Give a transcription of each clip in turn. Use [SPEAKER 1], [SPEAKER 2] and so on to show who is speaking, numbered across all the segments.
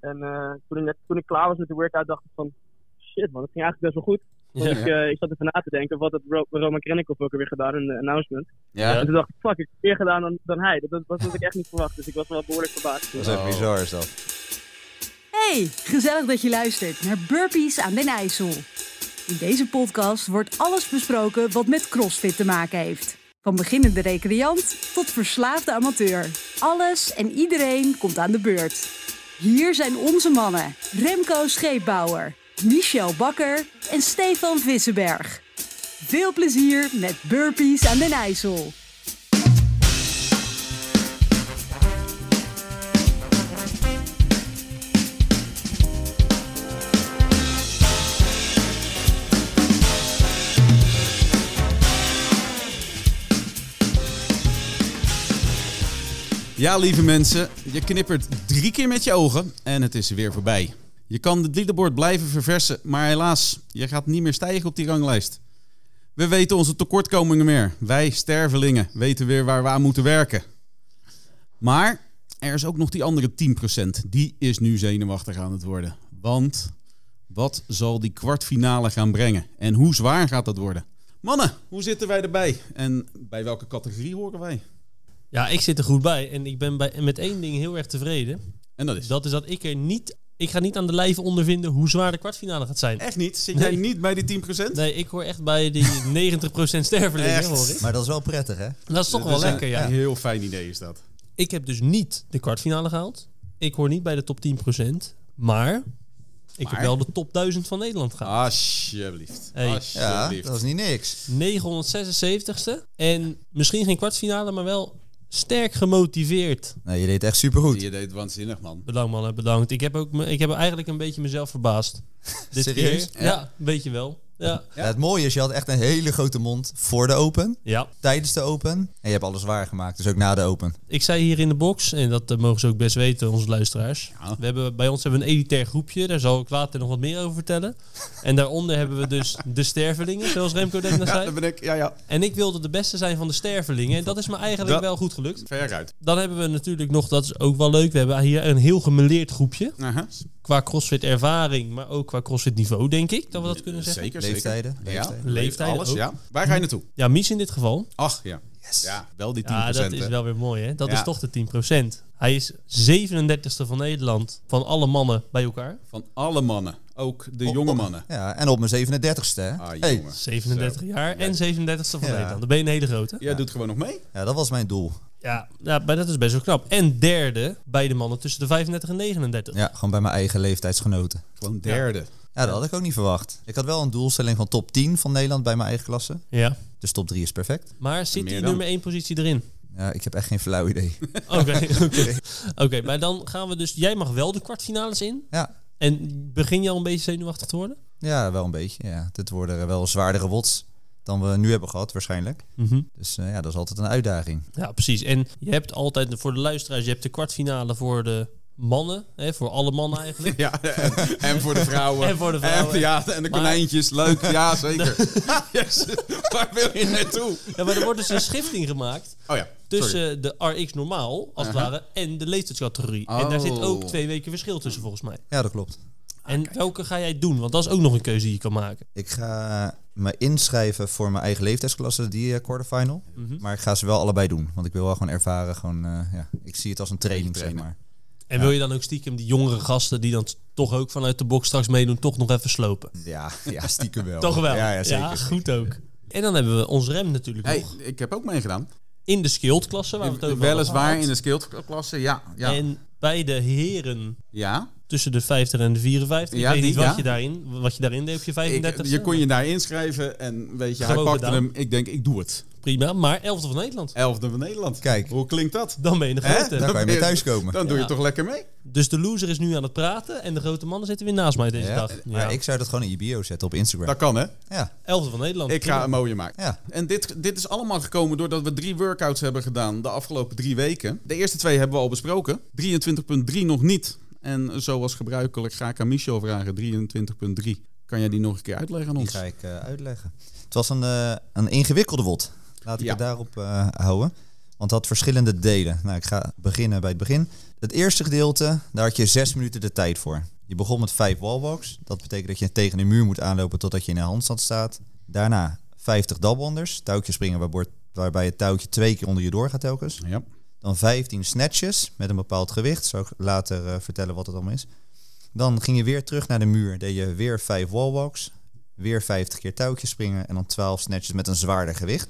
[SPEAKER 1] En eh, toen, ik, net- toen ik klaar was met de workout, dacht ik van... Shit man, het ging eigenlijk best wel goed. Want ik, eh, ik zat even na te denken, wat had Ro- Roman Krennikov ook alweer gedaan in de announcement.
[SPEAKER 2] Ja,
[SPEAKER 1] En toen dacht ik, fuck, ik heb meer gedaan dan, dan hij. Dat, dat was wat ik echt niet verwacht, dus ik was wel behoorlijk verbaasd.
[SPEAKER 3] Dat is echt bizar, is dat.
[SPEAKER 4] Hey, gezellig dat je luistert naar Burpees aan den IJssel. In deze podcast wordt alles besproken wat met CrossFit te maken heeft. Van beginnende recreant tot verslaafde amateur. Alles en iedereen komt aan de beurt. Hier zijn onze mannen Remco Scheepbouwer, Michel Bakker en Stefan Vissenberg. Veel plezier met Burpees aan den IJssel.
[SPEAKER 2] Ja, lieve mensen, je knippert drie keer met je ogen en het is weer voorbij. Je kan het leaderboard blijven verversen, maar helaas, je gaat niet meer stijgen op die ranglijst. We weten onze tekortkomingen meer. Wij, stervelingen, weten weer waar we aan moeten werken. Maar er is ook nog die andere 10%. Die is nu zenuwachtig aan het worden. Want wat zal die kwartfinale gaan brengen? En hoe zwaar gaat dat worden? Mannen, hoe zitten wij erbij? En bij welke categorie horen wij?
[SPEAKER 5] Ja, ik zit er goed bij. En ik ben bij, met één ding heel erg tevreden.
[SPEAKER 2] En dat is...
[SPEAKER 5] Dat is dat ik er niet... Ik ga niet aan de lijve ondervinden hoe zwaar de kwartfinale gaat zijn.
[SPEAKER 2] Echt niet? Zit jij
[SPEAKER 5] Nee.
[SPEAKER 2] niet bij die 10%? Dat
[SPEAKER 5] Nee, ik hoor echt bij die 90% stervelingen,
[SPEAKER 2] Echt?
[SPEAKER 5] hoor ik.
[SPEAKER 3] Maar dat is wel prettig, hè?
[SPEAKER 5] Dat is toch wel
[SPEAKER 2] is een-
[SPEAKER 5] lekker, ja.
[SPEAKER 2] Een heel fijn idee is dat.
[SPEAKER 5] Ik heb dus niet de kwartfinale gehaald. Ik hoor niet bij de top 10%. Maar
[SPEAKER 2] Maar?
[SPEAKER 5] ik
[SPEAKER 2] Ah.
[SPEAKER 5] heb wel de top 1000 van Nederland gehaald.
[SPEAKER 2] Alsjeblieft.
[SPEAKER 5] Hey.
[SPEAKER 3] Ja,
[SPEAKER 2] Alsjeblieft.
[SPEAKER 3] dat is niet niks.
[SPEAKER 5] 976ste. En misschien geen kwartfinale, maar wel sterk gemotiveerd.
[SPEAKER 3] Nee, je deed echt supergoed.
[SPEAKER 2] Je deed waanzinnig, man.
[SPEAKER 5] Bedankt mannen, bedankt. Ik heb, ook me, ik heb eigenlijk een beetje mezelf verbaasd. Dit
[SPEAKER 3] Serieus?
[SPEAKER 5] keer. Ja, een beetje wel. Ja.
[SPEAKER 3] Ja, het mooie is, je had echt een hele grote mond voor de open,
[SPEAKER 5] ja,
[SPEAKER 3] tijdens de open. En je hebt alles waar gemaakt, dus ook na de open.
[SPEAKER 5] ik zei hier in de box, en dat eh, mogen ze ook best weten, onze luisteraars.
[SPEAKER 2] Ja.
[SPEAKER 5] We hebben, bij ons hebben we een elitair groepje, daar zal ik later nog wat meer over vertellen. En daaronder hebben we dus de stervelingen, zoals Remco net
[SPEAKER 2] Ja,
[SPEAKER 5] net zei.
[SPEAKER 2] dat ben ik. Ja, ja.
[SPEAKER 5] En ik wilde de beste zijn van de stervelingen, en dat is me eigenlijk
[SPEAKER 2] Dat-
[SPEAKER 5] wel goed gelukt.
[SPEAKER 2] Veruit.
[SPEAKER 5] Dan hebben we natuurlijk nog, dat is ook wel leuk, we hebben hier een heel gemeleerd groepje.
[SPEAKER 2] Aha.
[SPEAKER 5] Qua crossfit ervaring, maar ook qua crossfit niveau, denk ik, dat we dat kunnen zeggen.
[SPEAKER 2] Zeker,
[SPEAKER 3] Leeftijden,
[SPEAKER 2] zeker.
[SPEAKER 3] leeftijden.
[SPEAKER 2] Ja,
[SPEAKER 5] Leeftijden
[SPEAKER 2] alles,
[SPEAKER 5] ook.
[SPEAKER 2] ja. Waar ga je naartoe?
[SPEAKER 5] Ja, Mies in dit geval.
[SPEAKER 2] Ach, ja. Ja, wel die 10%.
[SPEAKER 5] Ja, dat is
[SPEAKER 2] hè.
[SPEAKER 5] wel weer mooi, hè? Dat
[SPEAKER 2] Ja.
[SPEAKER 5] is toch de 10%. Hij is 37ste van Nederland van alle mannen bij elkaar.
[SPEAKER 2] Van alle mannen. Ook de
[SPEAKER 5] Oh,
[SPEAKER 3] Op-
[SPEAKER 2] jonge
[SPEAKER 3] op-
[SPEAKER 2] mannen.
[SPEAKER 3] Ja, en op mijn 37ste, hè?
[SPEAKER 2] Ah,
[SPEAKER 3] Hey,
[SPEAKER 2] jongen.
[SPEAKER 5] 37 jaar en 37ste van
[SPEAKER 3] Ja.
[SPEAKER 5] Nederland. Dan ben je een hele grote.
[SPEAKER 2] Jij doet gewoon nog mee?
[SPEAKER 3] ja, dat was mijn doel.
[SPEAKER 5] Ja, ja, maar dat is best wel knap. En derde bij de mannen tussen de 35 en 39.
[SPEAKER 3] Ja, gewoon bij mijn eigen leeftijdsgenoten.
[SPEAKER 2] Gewoon derde.
[SPEAKER 3] Ja, dat had ik ook niet verwacht. Ik had wel een doelstelling van top 10 van Nederland bij mijn eigen klasse.
[SPEAKER 5] Ja.
[SPEAKER 3] Dus top 3 is perfect.
[SPEAKER 5] Maar zit
[SPEAKER 2] Meer
[SPEAKER 5] die
[SPEAKER 2] dan.
[SPEAKER 5] nummer 1 positie erin?
[SPEAKER 3] Ja, ik heb echt geen flauw idee.
[SPEAKER 5] Oké, oké. Oké, maar dan gaan we dus... Jij mag wel de kwartfinales in.
[SPEAKER 3] ja,
[SPEAKER 5] En begin je al een beetje zenuwachtig te worden?
[SPEAKER 3] ja, wel een beetje. Ja. Dit worden wel zwaardere wots dan we nu hebben gehad waarschijnlijk. Dus eh, ja, dat is altijd een uitdaging.
[SPEAKER 5] Ja, precies. En je hebt altijd, voor de luisteraars, je hebt de kwartfinale voor de mannen. Hè, voor alle mannen eigenlijk.
[SPEAKER 2] Ja, en, en voor de vrouwen.
[SPEAKER 5] En voor de vrouwen.
[SPEAKER 2] En, ja, en de
[SPEAKER 5] Maar-
[SPEAKER 2] konijntjes. Leuk, ja, zeker. Yes. Waar wil je naartoe?
[SPEAKER 5] Ja, maar er wordt dus een schifting gemaakt
[SPEAKER 2] Oh ja, sorry.
[SPEAKER 5] tussen de RX normaal, als het ware, en de leeftijdscategorie. En daar zit ook
[SPEAKER 2] Oh. Ah,
[SPEAKER 5] twee weken verschil tussen, volgens mij.
[SPEAKER 3] Ja, dat klopt.
[SPEAKER 5] En welke ga jij doen? Want dat is ook nog een keuze die je kan maken.
[SPEAKER 3] Ik ga eh, me inschrijven voor mijn eigen leeftijdsklasse, die eh, quarterfinal. Maar ik ga ze wel allebei doen. Want ik wil wel gewoon ervaren. Gewoon, eh, ja, ik zie het als een training, zeg maar.
[SPEAKER 5] En wil je dan ook stiekem die jongere gasten, die dan t- toch ook vanuit de box straks meedoen, toch nog even slopen?
[SPEAKER 3] Ja, ja stiekem wel.
[SPEAKER 5] Toch wel?
[SPEAKER 3] Ja, ja zeker.
[SPEAKER 5] goed ook. En dan hebben we ons rem natuurlijk
[SPEAKER 2] Hey,
[SPEAKER 5] nog.
[SPEAKER 2] ik heb ook meegedaan.
[SPEAKER 5] In de skilled klasse, waar we het over hadden
[SPEAKER 2] Weliswaar
[SPEAKER 5] gehad.
[SPEAKER 2] in de skilled klasse, ja. Ja,
[SPEAKER 5] En bij de heren
[SPEAKER 2] ja.
[SPEAKER 5] tussen de 50 en de 54.
[SPEAKER 2] Ja,
[SPEAKER 5] ik weet
[SPEAKER 2] die,
[SPEAKER 5] niet wat,
[SPEAKER 2] ja.
[SPEAKER 5] je daarin, wat je daarin deed op je
[SPEAKER 2] Ik, eh,
[SPEAKER 5] 35
[SPEAKER 2] je kon je daar inschrijven en weet je, hij
[SPEAKER 5] Gewoon
[SPEAKER 2] pakte
[SPEAKER 5] gedaan.
[SPEAKER 2] hem. Ik denk, ik doe het.
[SPEAKER 5] Prima, maar 11 van Nederland.
[SPEAKER 2] Elfde van Nederland.
[SPEAKER 3] Kijk.
[SPEAKER 2] Hoe klinkt dat?
[SPEAKER 5] Dan ben je de
[SPEAKER 2] Hè?
[SPEAKER 5] grote.
[SPEAKER 3] Dan kan je
[SPEAKER 2] ben
[SPEAKER 3] mee thuiskomen.
[SPEAKER 2] Dan doe je
[SPEAKER 5] Ja.
[SPEAKER 2] toch lekker mee?
[SPEAKER 5] Dus de loser is nu aan het praten en de grote mannen zitten weer naast mij deze
[SPEAKER 3] Ja,
[SPEAKER 5] dag.
[SPEAKER 3] Maar
[SPEAKER 5] Ja.
[SPEAKER 3] ik zou dat gewoon in je bio zetten op Instagram.
[SPEAKER 2] Dat kan, hè?
[SPEAKER 3] Ja,
[SPEAKER 5] Elfde van Nederland.
[SPEAKER 2] Ik ga een mooie maken.
[SPEAKER 3] Ja.
[SPEAKER 2] En dit, dit is allemaal gekomen doordat we drie workouts hebben gedaan de afgelopen drie weken. De eerste twee hebben we al besproken. 23.3 nog niet. En zoals gebruikelijk ga ik aan Michel vragen. 23.3. Kan jij die nog een keer uitleggen aan
[SPEAKER 3] die
[SPEAKER 2] ons?
[SPEAKER 3] ga ik eh, uitleggen. Het was een, eh, een ingewikkelde wot. Laat ik
[SPEAKER 2] Ja.
[SPEAKER 3] het daarop eh, houden. Want het had verschillende delen. Nou, ik ga beginnen bij het begin. Het eerste gedeelte, daar had je zes minuten de tijd voor. Je begon met vijf wallwalks. Dat betekent dat je tegen een muur moet aanlopen totdat je in een handstand staat. Daarna 50 doublewonders, touwtjes springen waarboor- waarbij het touwtje twee keer onder je door gaat telkens.
[SPEAKER 2] Ja.
[SPEAKER 3] Dan 15 snatches met een bepaald gewicht. Zal ik later eh, vertellen wat het allemaal is. Dan ging je weer terug naar de muur. Deed je weer 5 wallwalks. Weer 50 keer touwtjes springen. En dan 12 snatches met een zwaarder gewicht.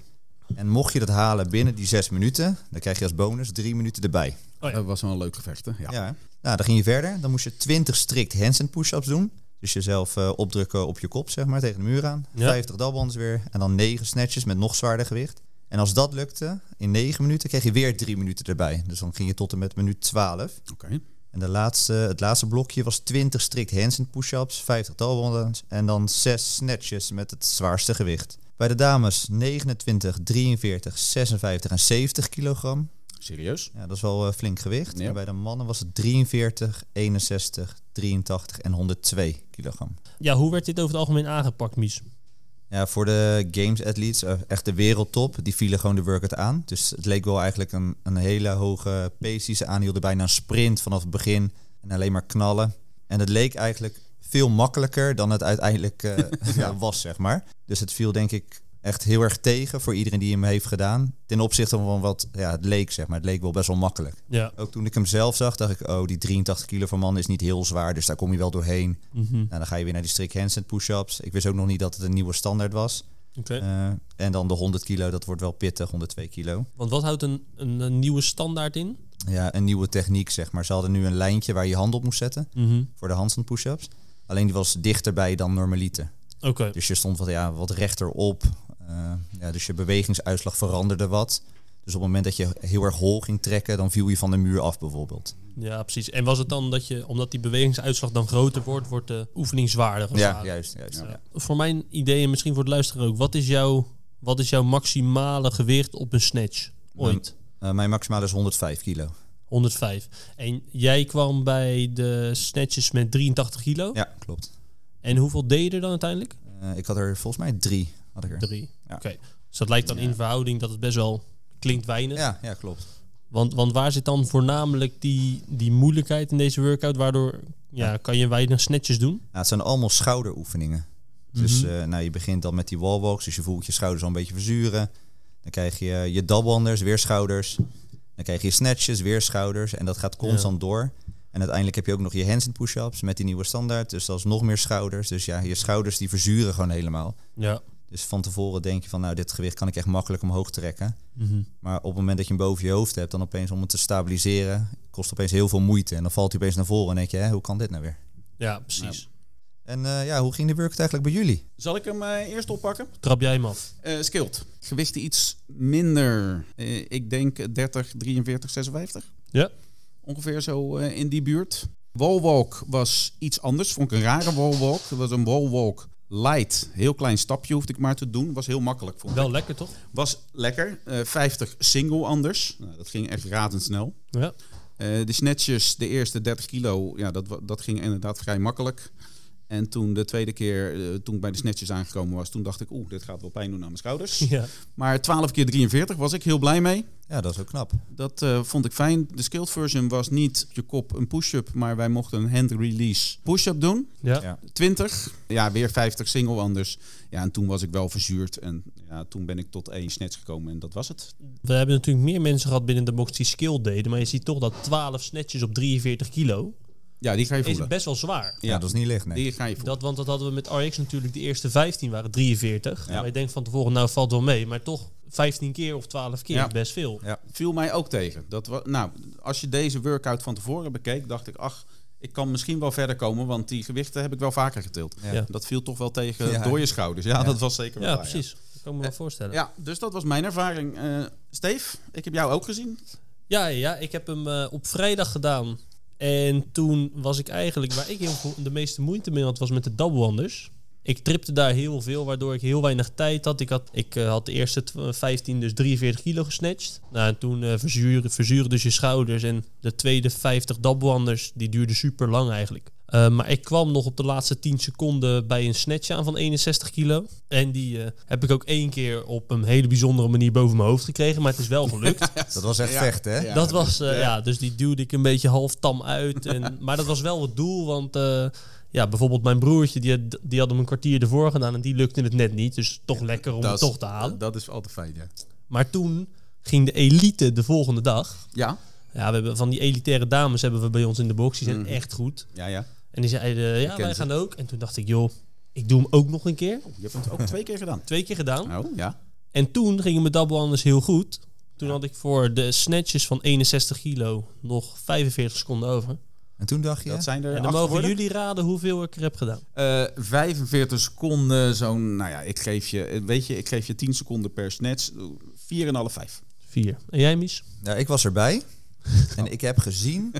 [SPEAKER 3] En mocht je dat halen binnen die 6 minuten, dan krijg je als bonus 3 minuten erbij.
[SPEAKER 5] Oh ja.
[SPEAKER 2] Dat was wel een leuk gevecht, hè? Ja.
[SPEAKER 3] Ja. hè? Nou, dan ging je verder. Dan moest je 20 strikt handstand push-ups doen. Dus jezelf eh, opdrukken op je kop, zeg maar, tegen de muur aan.
[SPEAKER 5] Ja.
[SPEAKER 3] 50 dalbands weer. En dan 9 snatches met nog zwaarder gewicht. En als dat lukte, in 9 minuten, kreeg je weer 3 minuten erbij. Dus dan ging je tot en met minuut 12.
[SPEAKER 2] Oké.
[SPEAKER 3] En de laatste, het laatste blokje was 20 strikt handstand push-ups, 50 dalbands en dan 6 snatches met het zwaarste gewicht. Bij de dames 29, 43, 56 en 70 kilogram.
[SPEAKER 2] Serieus?
[SPEAKER 3] Ja, dat is wel eh, flink gewicht.
[SPEAKER 2] Ja.
[SPEAKER 3] En bij de mannen was het 43, 61, 83 en 102 kilogram.
[SPEAKER 5] Ja, hoe werd dit over het algemeen aangepakt, Mies?
[SPEAKER 3] Ja, voor de games athletes, eh, echt de wereldtop, die vielen gewoon de workout aan. Dus het leek wel eigenlijk een, een hele hoge pace die ze aanhielden. Bijna een sprint vanaf het begin en alleen maar knallen. En het leek eigenlijk veel makkelijker dan het uiteindelijk eh, ja, was, zeg maar. Dus het viel denk ik echt heel erg tegen voor iedereen die hem heeft gedaan. Ten opzichte van wat ja, het leek, zeg maar. Het leek wel best wel makkelijk.
[SPEAKER 5] Ja.
[SPEAKER 3] Ook toen ik hem zelf zag, dacht ik, oh, die 83 kilo van man is niet heel zwaar, dus daar kom je wel doorheen. Nou, dan ga je weer naar die strict handstand push-ups. Ik wist ook nog niet dat het een nieuwe standaard was.
[SPEAKER 5] Oké.
[SPEAKER 3] Eh, en dan de 100 kilo, dat wordt wel pittig, 102 kilo.
[SPEAKER 5] Want wat houdt een, een, een nieuwe standaard in?
[SPEAKER 3] Ja, een nieuwe techniek, zeg maar. Ze hadden nu een lijntje waar je je hand op moest zetten voor de handstand push-ups. Alleen die was dichterbij dan normaliter.
[SPEAKER 5] Oké.
[SPEAKER 3] Dus je stond wat, ja, wat rechter op. Eh, ja, dus je bewegingsuitslag veranderde wat. Dus op het moment dat je heel erg hol ging trekken, dan viel je van de muur af bijvoorbeeld.
[SPEAKER 5] Ja, precies. En was het dan dat je, omdat die bewegingsuitslag dan groter wordt, wordt de oefening zwaarder? als het
[SPEAKER 3] Ja,
[SPEAKER 5] ware?
[SPEAKER 3] juist. juist ja.
[SPEAKER 5] Voor mijn idee en misschien voor het luisteren ook, wat is jouw, wat is jouw maximale gewicht op een snatch ooit?
[SPEAKER 3] Eh, mijn maximaal is 105 kilo.
[SPEAKER 5] 105. En jij kwam bij de snatches met 83 kilo.
[SPEAKER 3] Ja, klopt.
[SPEAKER 5] En hoeveel deed je er dan uiteindelijk?
[SPEAKER 3] Eh, ik had er volgens mij drie. Had ik er.
[SPEAKER 5] Drie.
[SPEAKER 3] Ja.
[SPEAKER 5] Oké. Dus dat lijkt dan in verhouding dat het best wel klinkt weinig.
[SPEAKER 3] Ja, ja, klopt.
[SPEAKER 5] Want, want waar zit dan voornamelijk die, die moeilijkheid in deze workout? Waardoor ja, kan je weinig snatches doen?
[SPEAKER 3] Ja, Nou, het zijn allemaal schouderoefeningen. Dus eh, nou, je begint dan met die wallwalks, dus je voelt je schouders al een beetje verzuren. Dan krijg je je doublewonders, weer schouders. Dan krijg je snatches, weer schouders. En dat gaat constant door. En uiteindelijk heb je ook nog je hands push-ups met die nieuwe standaard. Dus dat is nog meer schouders. Dus ja, je schouders die verzuren gewoon helemaal.
[SPEAKER 5] Ja.
[SPEAKER 3] Dus van tevoren denk je van, nou, dit gewicht kan ik echt makkelijk omhoog trekken.
[SPEAKER 2] Mhm.
[SPEAKER 3] Maar op het moment dat je hem boven je hoofd hebt, dan opeens om het te stabiliseren, kost opeens heel veel moeite. En dan valt hij opeens naar voren en denk je, hè, hoe kan dit nou weer?
[SPEAKER 5] Ja, precies.
[SPEAKER 3] En eh, ja, hoe ging de workout eigenlijk bij jullie?
[SPEAKER 2] Zal ik hem eh, eerst oppakken?
[SPEAKER 5] Trap jij hem af.
[SPEAKER 2] Eh skilled. Gewichten iets minder. Eh, ik denk 30, 43, 56.
[SPEAKER 5] Ja.
[SPEAKER 2] Ongeveer zo eh, in die buurt. Wallwalk was iets anders. Vond ik een rare wallwalk. Het was een wallwalk light. Heel klein stapje hoefde ik maar te doen. Was heel makkelijk vond ik.
[SPEAKER 5] Wel lekker toch?
[SPEAKER 2] Was lekker. Eh, 50 single anders. Nou, dat ging echt razendsnel.
[SPEAKER 5] Ja.
[SPEAKER 2] Eh, de snatches, de eerste 30 kilo, ja, dat, wa- dat ging inderdaad vrij makkelijk. En toen de tweede keer, eh, toen ik bij de snatches aangekomen was, toen dacht ik, oeh, dit gaat wel pijn doen aan mijn schouders.
[SPEAKER 5] ja.
[SPEAKER 2] Maar 12 keer 43 was ik heel blij mee.
[SPEAKER 3] Ja, dat is ook knap.
[SPEAKER 2] Dat eh, vond ik fijn. De skilled version was niet je kop een push-up, maar wij mochten een hand release push-up doen.
[SPEAKER 5] Ja.
[SPEAKER 3] Ja.
[SPEAKER 2] 20. Ja, weer 50 single anders. Ja, en toen was ik wel verzuurd. En ja, toen ben ik tot één snatch gekomen en dat was het.
[SPEAKER 5] We hebben natuurlijk meer mensen gehad binnen de box die skill deden. Maar je ziet toch dat 12 snatches op 43 kilo
[SPEAKER 2] Ja, die ga je
[SPEAKER 5] is
[SPEAKER 2] voelen.
[SPEAKER 5] best wel zwaar.
[SPEAKER 3] Ja, dat is niet licht, nee.
[SPEAKER 2] Die ga je voelen.
[SPEAKER 5] Dat, want dat hadden we met RX natuurlijk. De eerste 15 waren 43.
[SPEAKER 2] Ja.
[SPEAKER 5] Maar je denkt van tevoren, nou valt wel mee. Maar toch 15 keer of 12 keer
[SPEAKER 2] Ja.
[SPEAKER 5] is best veel.
[SPEAKER 3] Ja.
[SPEAKER 2] viel mij ook tegen. Dat wa- nou, als je deze workout van tevoren bekeek, dacht ik, ach, ik kan misschien wel verder komen, want die gewichten heb ik wel vaker getild.
[SPEAKER 5] Ja.
[SPEAKER 2] Dat viel toch wel tegen
[SPEAKER 3] Ja.
[SPEAKER 2] door je schouders. Ja, dat was zeker wel
[SPEAKER 5] Ja,
[SPEAKER 2] waar,
[SPEAKER 5] precies. Dat kan ik me wel voorstellen.
[SPEAKER 2] Ja. Ja, dus dat was mijn ervaring. Eh, Steve, ik heb jou ook gezien.
[SPEAKER 5] Ja, ja, ik heb hem eh, op vrijdag gedaan. En toen was ik eigenlijk, waar ik heel veel, de meeste moeite mee had, was met de doublewonders. Ik tripte daar heel veel, waardoor ik heel weinig tijd had. Ik had, ik, eh, had de eerste tw- 15, dus 43 kilo gesnatcht. Nou, en toen eh verzuren, verzuren dus je schouders. En de tweede 50 doublewonders, die duurde super lang eigenlijk. Eh, maar ik kwam nog op de laatste 10 seconden bij een snatch aan van 61 kilo. En die eh, heb ik ook één keer op een hele bijzondere manier boven mijn hoofd gekregen. Maar het is wel gelukt.
[SPEAKER 3] Dat was echt
[SPEAKER 2] Ja.
[SPEAKER 3] vechten, hè?
[SPEAKER 2] Ja.
[SPEAKER 5] dat was, eh, ja, dus die duwde ik een beetje half tam uit. En, maar dat was wel het doel, want eh, ja, bijvoorbeeld mijn broertje, die had, die had hem een kwartier ervoor gedaan en die lukte het net niet. Dus toch lekker om het
[SPEAKER 2] Dat is-
[SPEAKER 5] toch te halen.
[SPEAKER 2] Dat is altijd fijn, ja.
[SPEAKER 5] Maar toen ging de elite de volgende dag.
[SPEAKER 2] Ja?
[SPEAKER 5] Ja, we hebben, van die elitaire dames hebben we bij ons in de box. Die zijn
[SPEAKER 2] Mm.
[SPEAKER 5] echt goed.
[SPEAKER 2] Ja, ja.
[SPEAKER 5] En die zeiden, ja, wij
[SPEAKER 2] kent
[SPEAKER 5] gaan ook. En toen dacht ik, joh, ik doe hem ook nog een keer.
[SPEAKER 2] Je hebt het ook twee keer gedaan.
[SPEAKER 5] Twee keer gedaan.
[SPEAKER 2] Oh, ja.
[SPEAKER 5] En toen gingen mijn double anders heel goed. Toen had ik voor de snatches van 61 kilo nog 45 seconden over.
[SPEAKER 3] En toen dacht je,
[SPEAKER 2] Dat zijn er
[SPEAKER 5] En dan
[SPEAKER 2] acht
[SPEAKER 5] mogen
[SPEAKER 2] geworden.
[SPEAKER 5] jullie raden hoeveel ik er heb gedaan.
[SPEAKER 2] Eh, 45 seconden, zo'n... Nou ja, ik geef je... Weet je, ik geef je 10 seconden per snatch. 4,5, 5.
[SPEAKER 5] Vier. En jij, Mies?
[SPEAKER 3] nou, ik was erbij. En ik heb gezien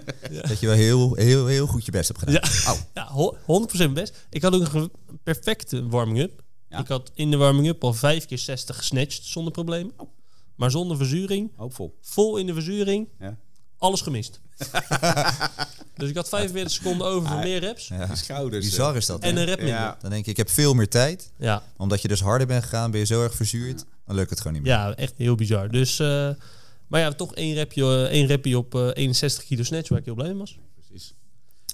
[SPEAKER 3] dat je wel heel, heel, heel goed je best hebt gedaan.
[SPEAKER 5] Ja, ho- 100% best. Ik had ook een ge- perfecte warming-up.
[SPEAKER 2] Ja.
[SPEAKER 5] Ik had in de warming-up al 5 keer 60 gesnatcht zonder probleem. Maar zonder verzuring,
[SPEAKER 2] Hoopvol.
[SPEAKER 5] vol in de verzuring,
[SPEAKER 2] Ja.
[SPEAKER 5] alles gemist. dus ik had 45 seconden over voor meer reps
[SPEAKER 3] Ja.
[SPEAKER 2] Die schouders. eh.
[SPEAKER 3] Bizar is dat.
[SPEAKER 5] en
[SPEAKER 3] hè?
[SPEAKER 5] een rep minder. Ja.
[SPEAKER 2] Ja.
[SPEAKER 3] Dan denk ik, ik heb veel meer tijd.
[SPEAKER 5] Ja.
[SPEAKER 3] Omdat je dus harder bent gegaan, ben je zo erg verzuurd. Dan lukt het gewoon niet meer.
[SPEAKER 5] echt heel bizar. Dus, eh, maar ja, toch één repje, eh, één repje op eh, 61 kilo snatch, waar ik heel blij mee was.
[SPEAKER 2] Precies.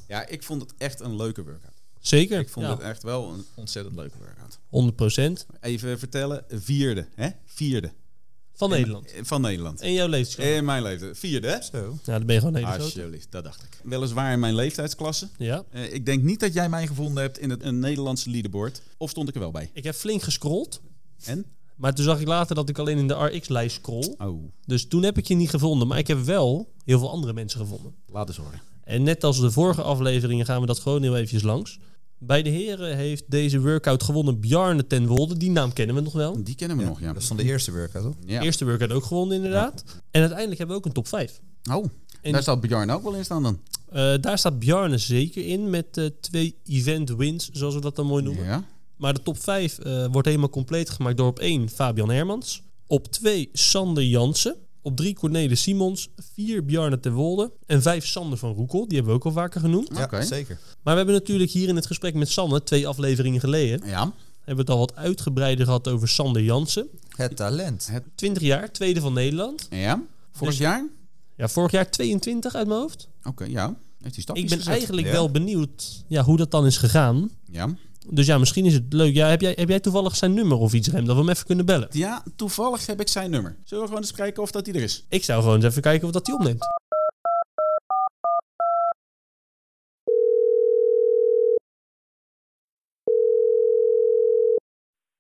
[SPEAKER 2] Ja, ik vond het echt een leuke workout.
[SPEAKER 5] Zeker,
[SPEAKER 2] Ik vond
[SPEAKER 5] ja,
[SPEAKER 2] het echt wel een ontzettend leuke workout.
[SPEAKER 5] 100%
[SPEAKER 2] Even vertellen, vierde, hè? Vierde.
[SPEAKER 5] van Nederland.
[SPEAKER 2] Eh, Van Nederland.
[SPEAKER 5] En jouw leeftijdsgroep.
[SPEAKER 2] In mijn leeftijd. Vierde, hè?
[SPEAKER 3] Zo.
[SPEAKER 5] Ja, dan ben je gewoon
[SPEAKER 2] Ah,
[SPEAKER 5] een hele grote.
[SPEAKER 2] Alsjeblieft, dat dacht ik. Weliswaar in mijn leeftijdsklasse.
[SPEAKER 5] Ja.
[SPEAKER 2] Eh, ik denk niet dat jij mij gevonden hebt in het een Nederlandse leaderboard. Of stond ik er wel bij?
[SPEAKER 5] Ik heb flink gescrolld.
[SPEAKER 2] En?
[SPEAKER 5] Maar toen zag ik later dat ik alleen in de RX-lijst scroll.
[SPEAKER 2] Oh,
[SPEAKER 5] Dus toen heb ik je niet gevonden. Maar ik heb wel heel veel andere mensen gevonden.
[SPEAKER 2] laat eens horen.
[SPEAKER 5] En net als de vorige afleveringen gaan we dat gewoon heel eventjes langs. Bij de heren heeft deze workout gewonnen Bjarne ten Wolde. Die naam kennen we nog wel.
[SPEAKER 2] Die kennen we nog, ja.
[SPEAKER 3] Dat is van de eerste workout, toch?
[SPEAKER 2] Ja.
[SPEAKER 5] Eerste workout ook gewonnen inderdaad. En uiteindelijk hebben we ook een top 5.
[SPEAKER 2] Oh,
[SPEAKER 5] En-
[SPEAKER 2] daar staat Bjarne ook wel in staan dan.
[SPEAKER 5] Eh, daar staat Bjarne zeker in met eh, twee event wins, zoals we dat dan mooi noemen.
[SPEAKER 2] Ja.
[SPEAKER 5] Maar de top 5 wordt helemaal compleet gemaakt door op 1 Fabian Hermans. Op 2 Sander Jansen. Op 3 Cornelis Simons. 4 Bjarne ten Wolde. En 5 Sander van Roekel. Die hebben we ook al vaker genoemd.
[SPEAKER 3] Ja,
[SPEAKER 2] Oké.
[SPEAKER 3] zeker.
[SPEAKER 5] Maar we hebben natuurlijk hier in het gesprek met Sanne, twee afleveringen geleden,
[SPEAKER 2] Ja,
[SPEAKER 5] hebben we het al wat uitgebreider gehad over Sander Jansen.
[SPEAKER 3] Het talent.
[SPEAKER 5] 20 jaar, tweede van Nederland.
[SPEAKER 2] ja. Vorig
[SPEAKER 5] Dus-
[SPEAKER 2] jaar?
[SPEAKER 5] Ja, vorig jaar 22 uit mijn hoofd.
[SPEAKER 2] Oké, ja. Heeft hij stapjes
[SPEAKER 5] Ik ben
[SPEAKER 2] gezet.
[SPEAKER 5] eigenlijk
[SPEAKER 3] Ja.
[SPEAKER 5] wel benieuwd ja, hoe dat dan is gegaan.
[SPEAKER 2] Ja.
[SPEAKER 5] Dus ja, misschien is het leuk. Ja, heb, jij, heb jij toevallig zijn nummer of iets, Rem, dat we hem even kunnen bellen?
[SPEAKER 2] ja, toevallig heb ik zijn nummer. Zullen we gewoon eens kijken of dat hij er is?
[SPEAKER 5] Ik zou gewoon eens even kijken of dat hij opneemt.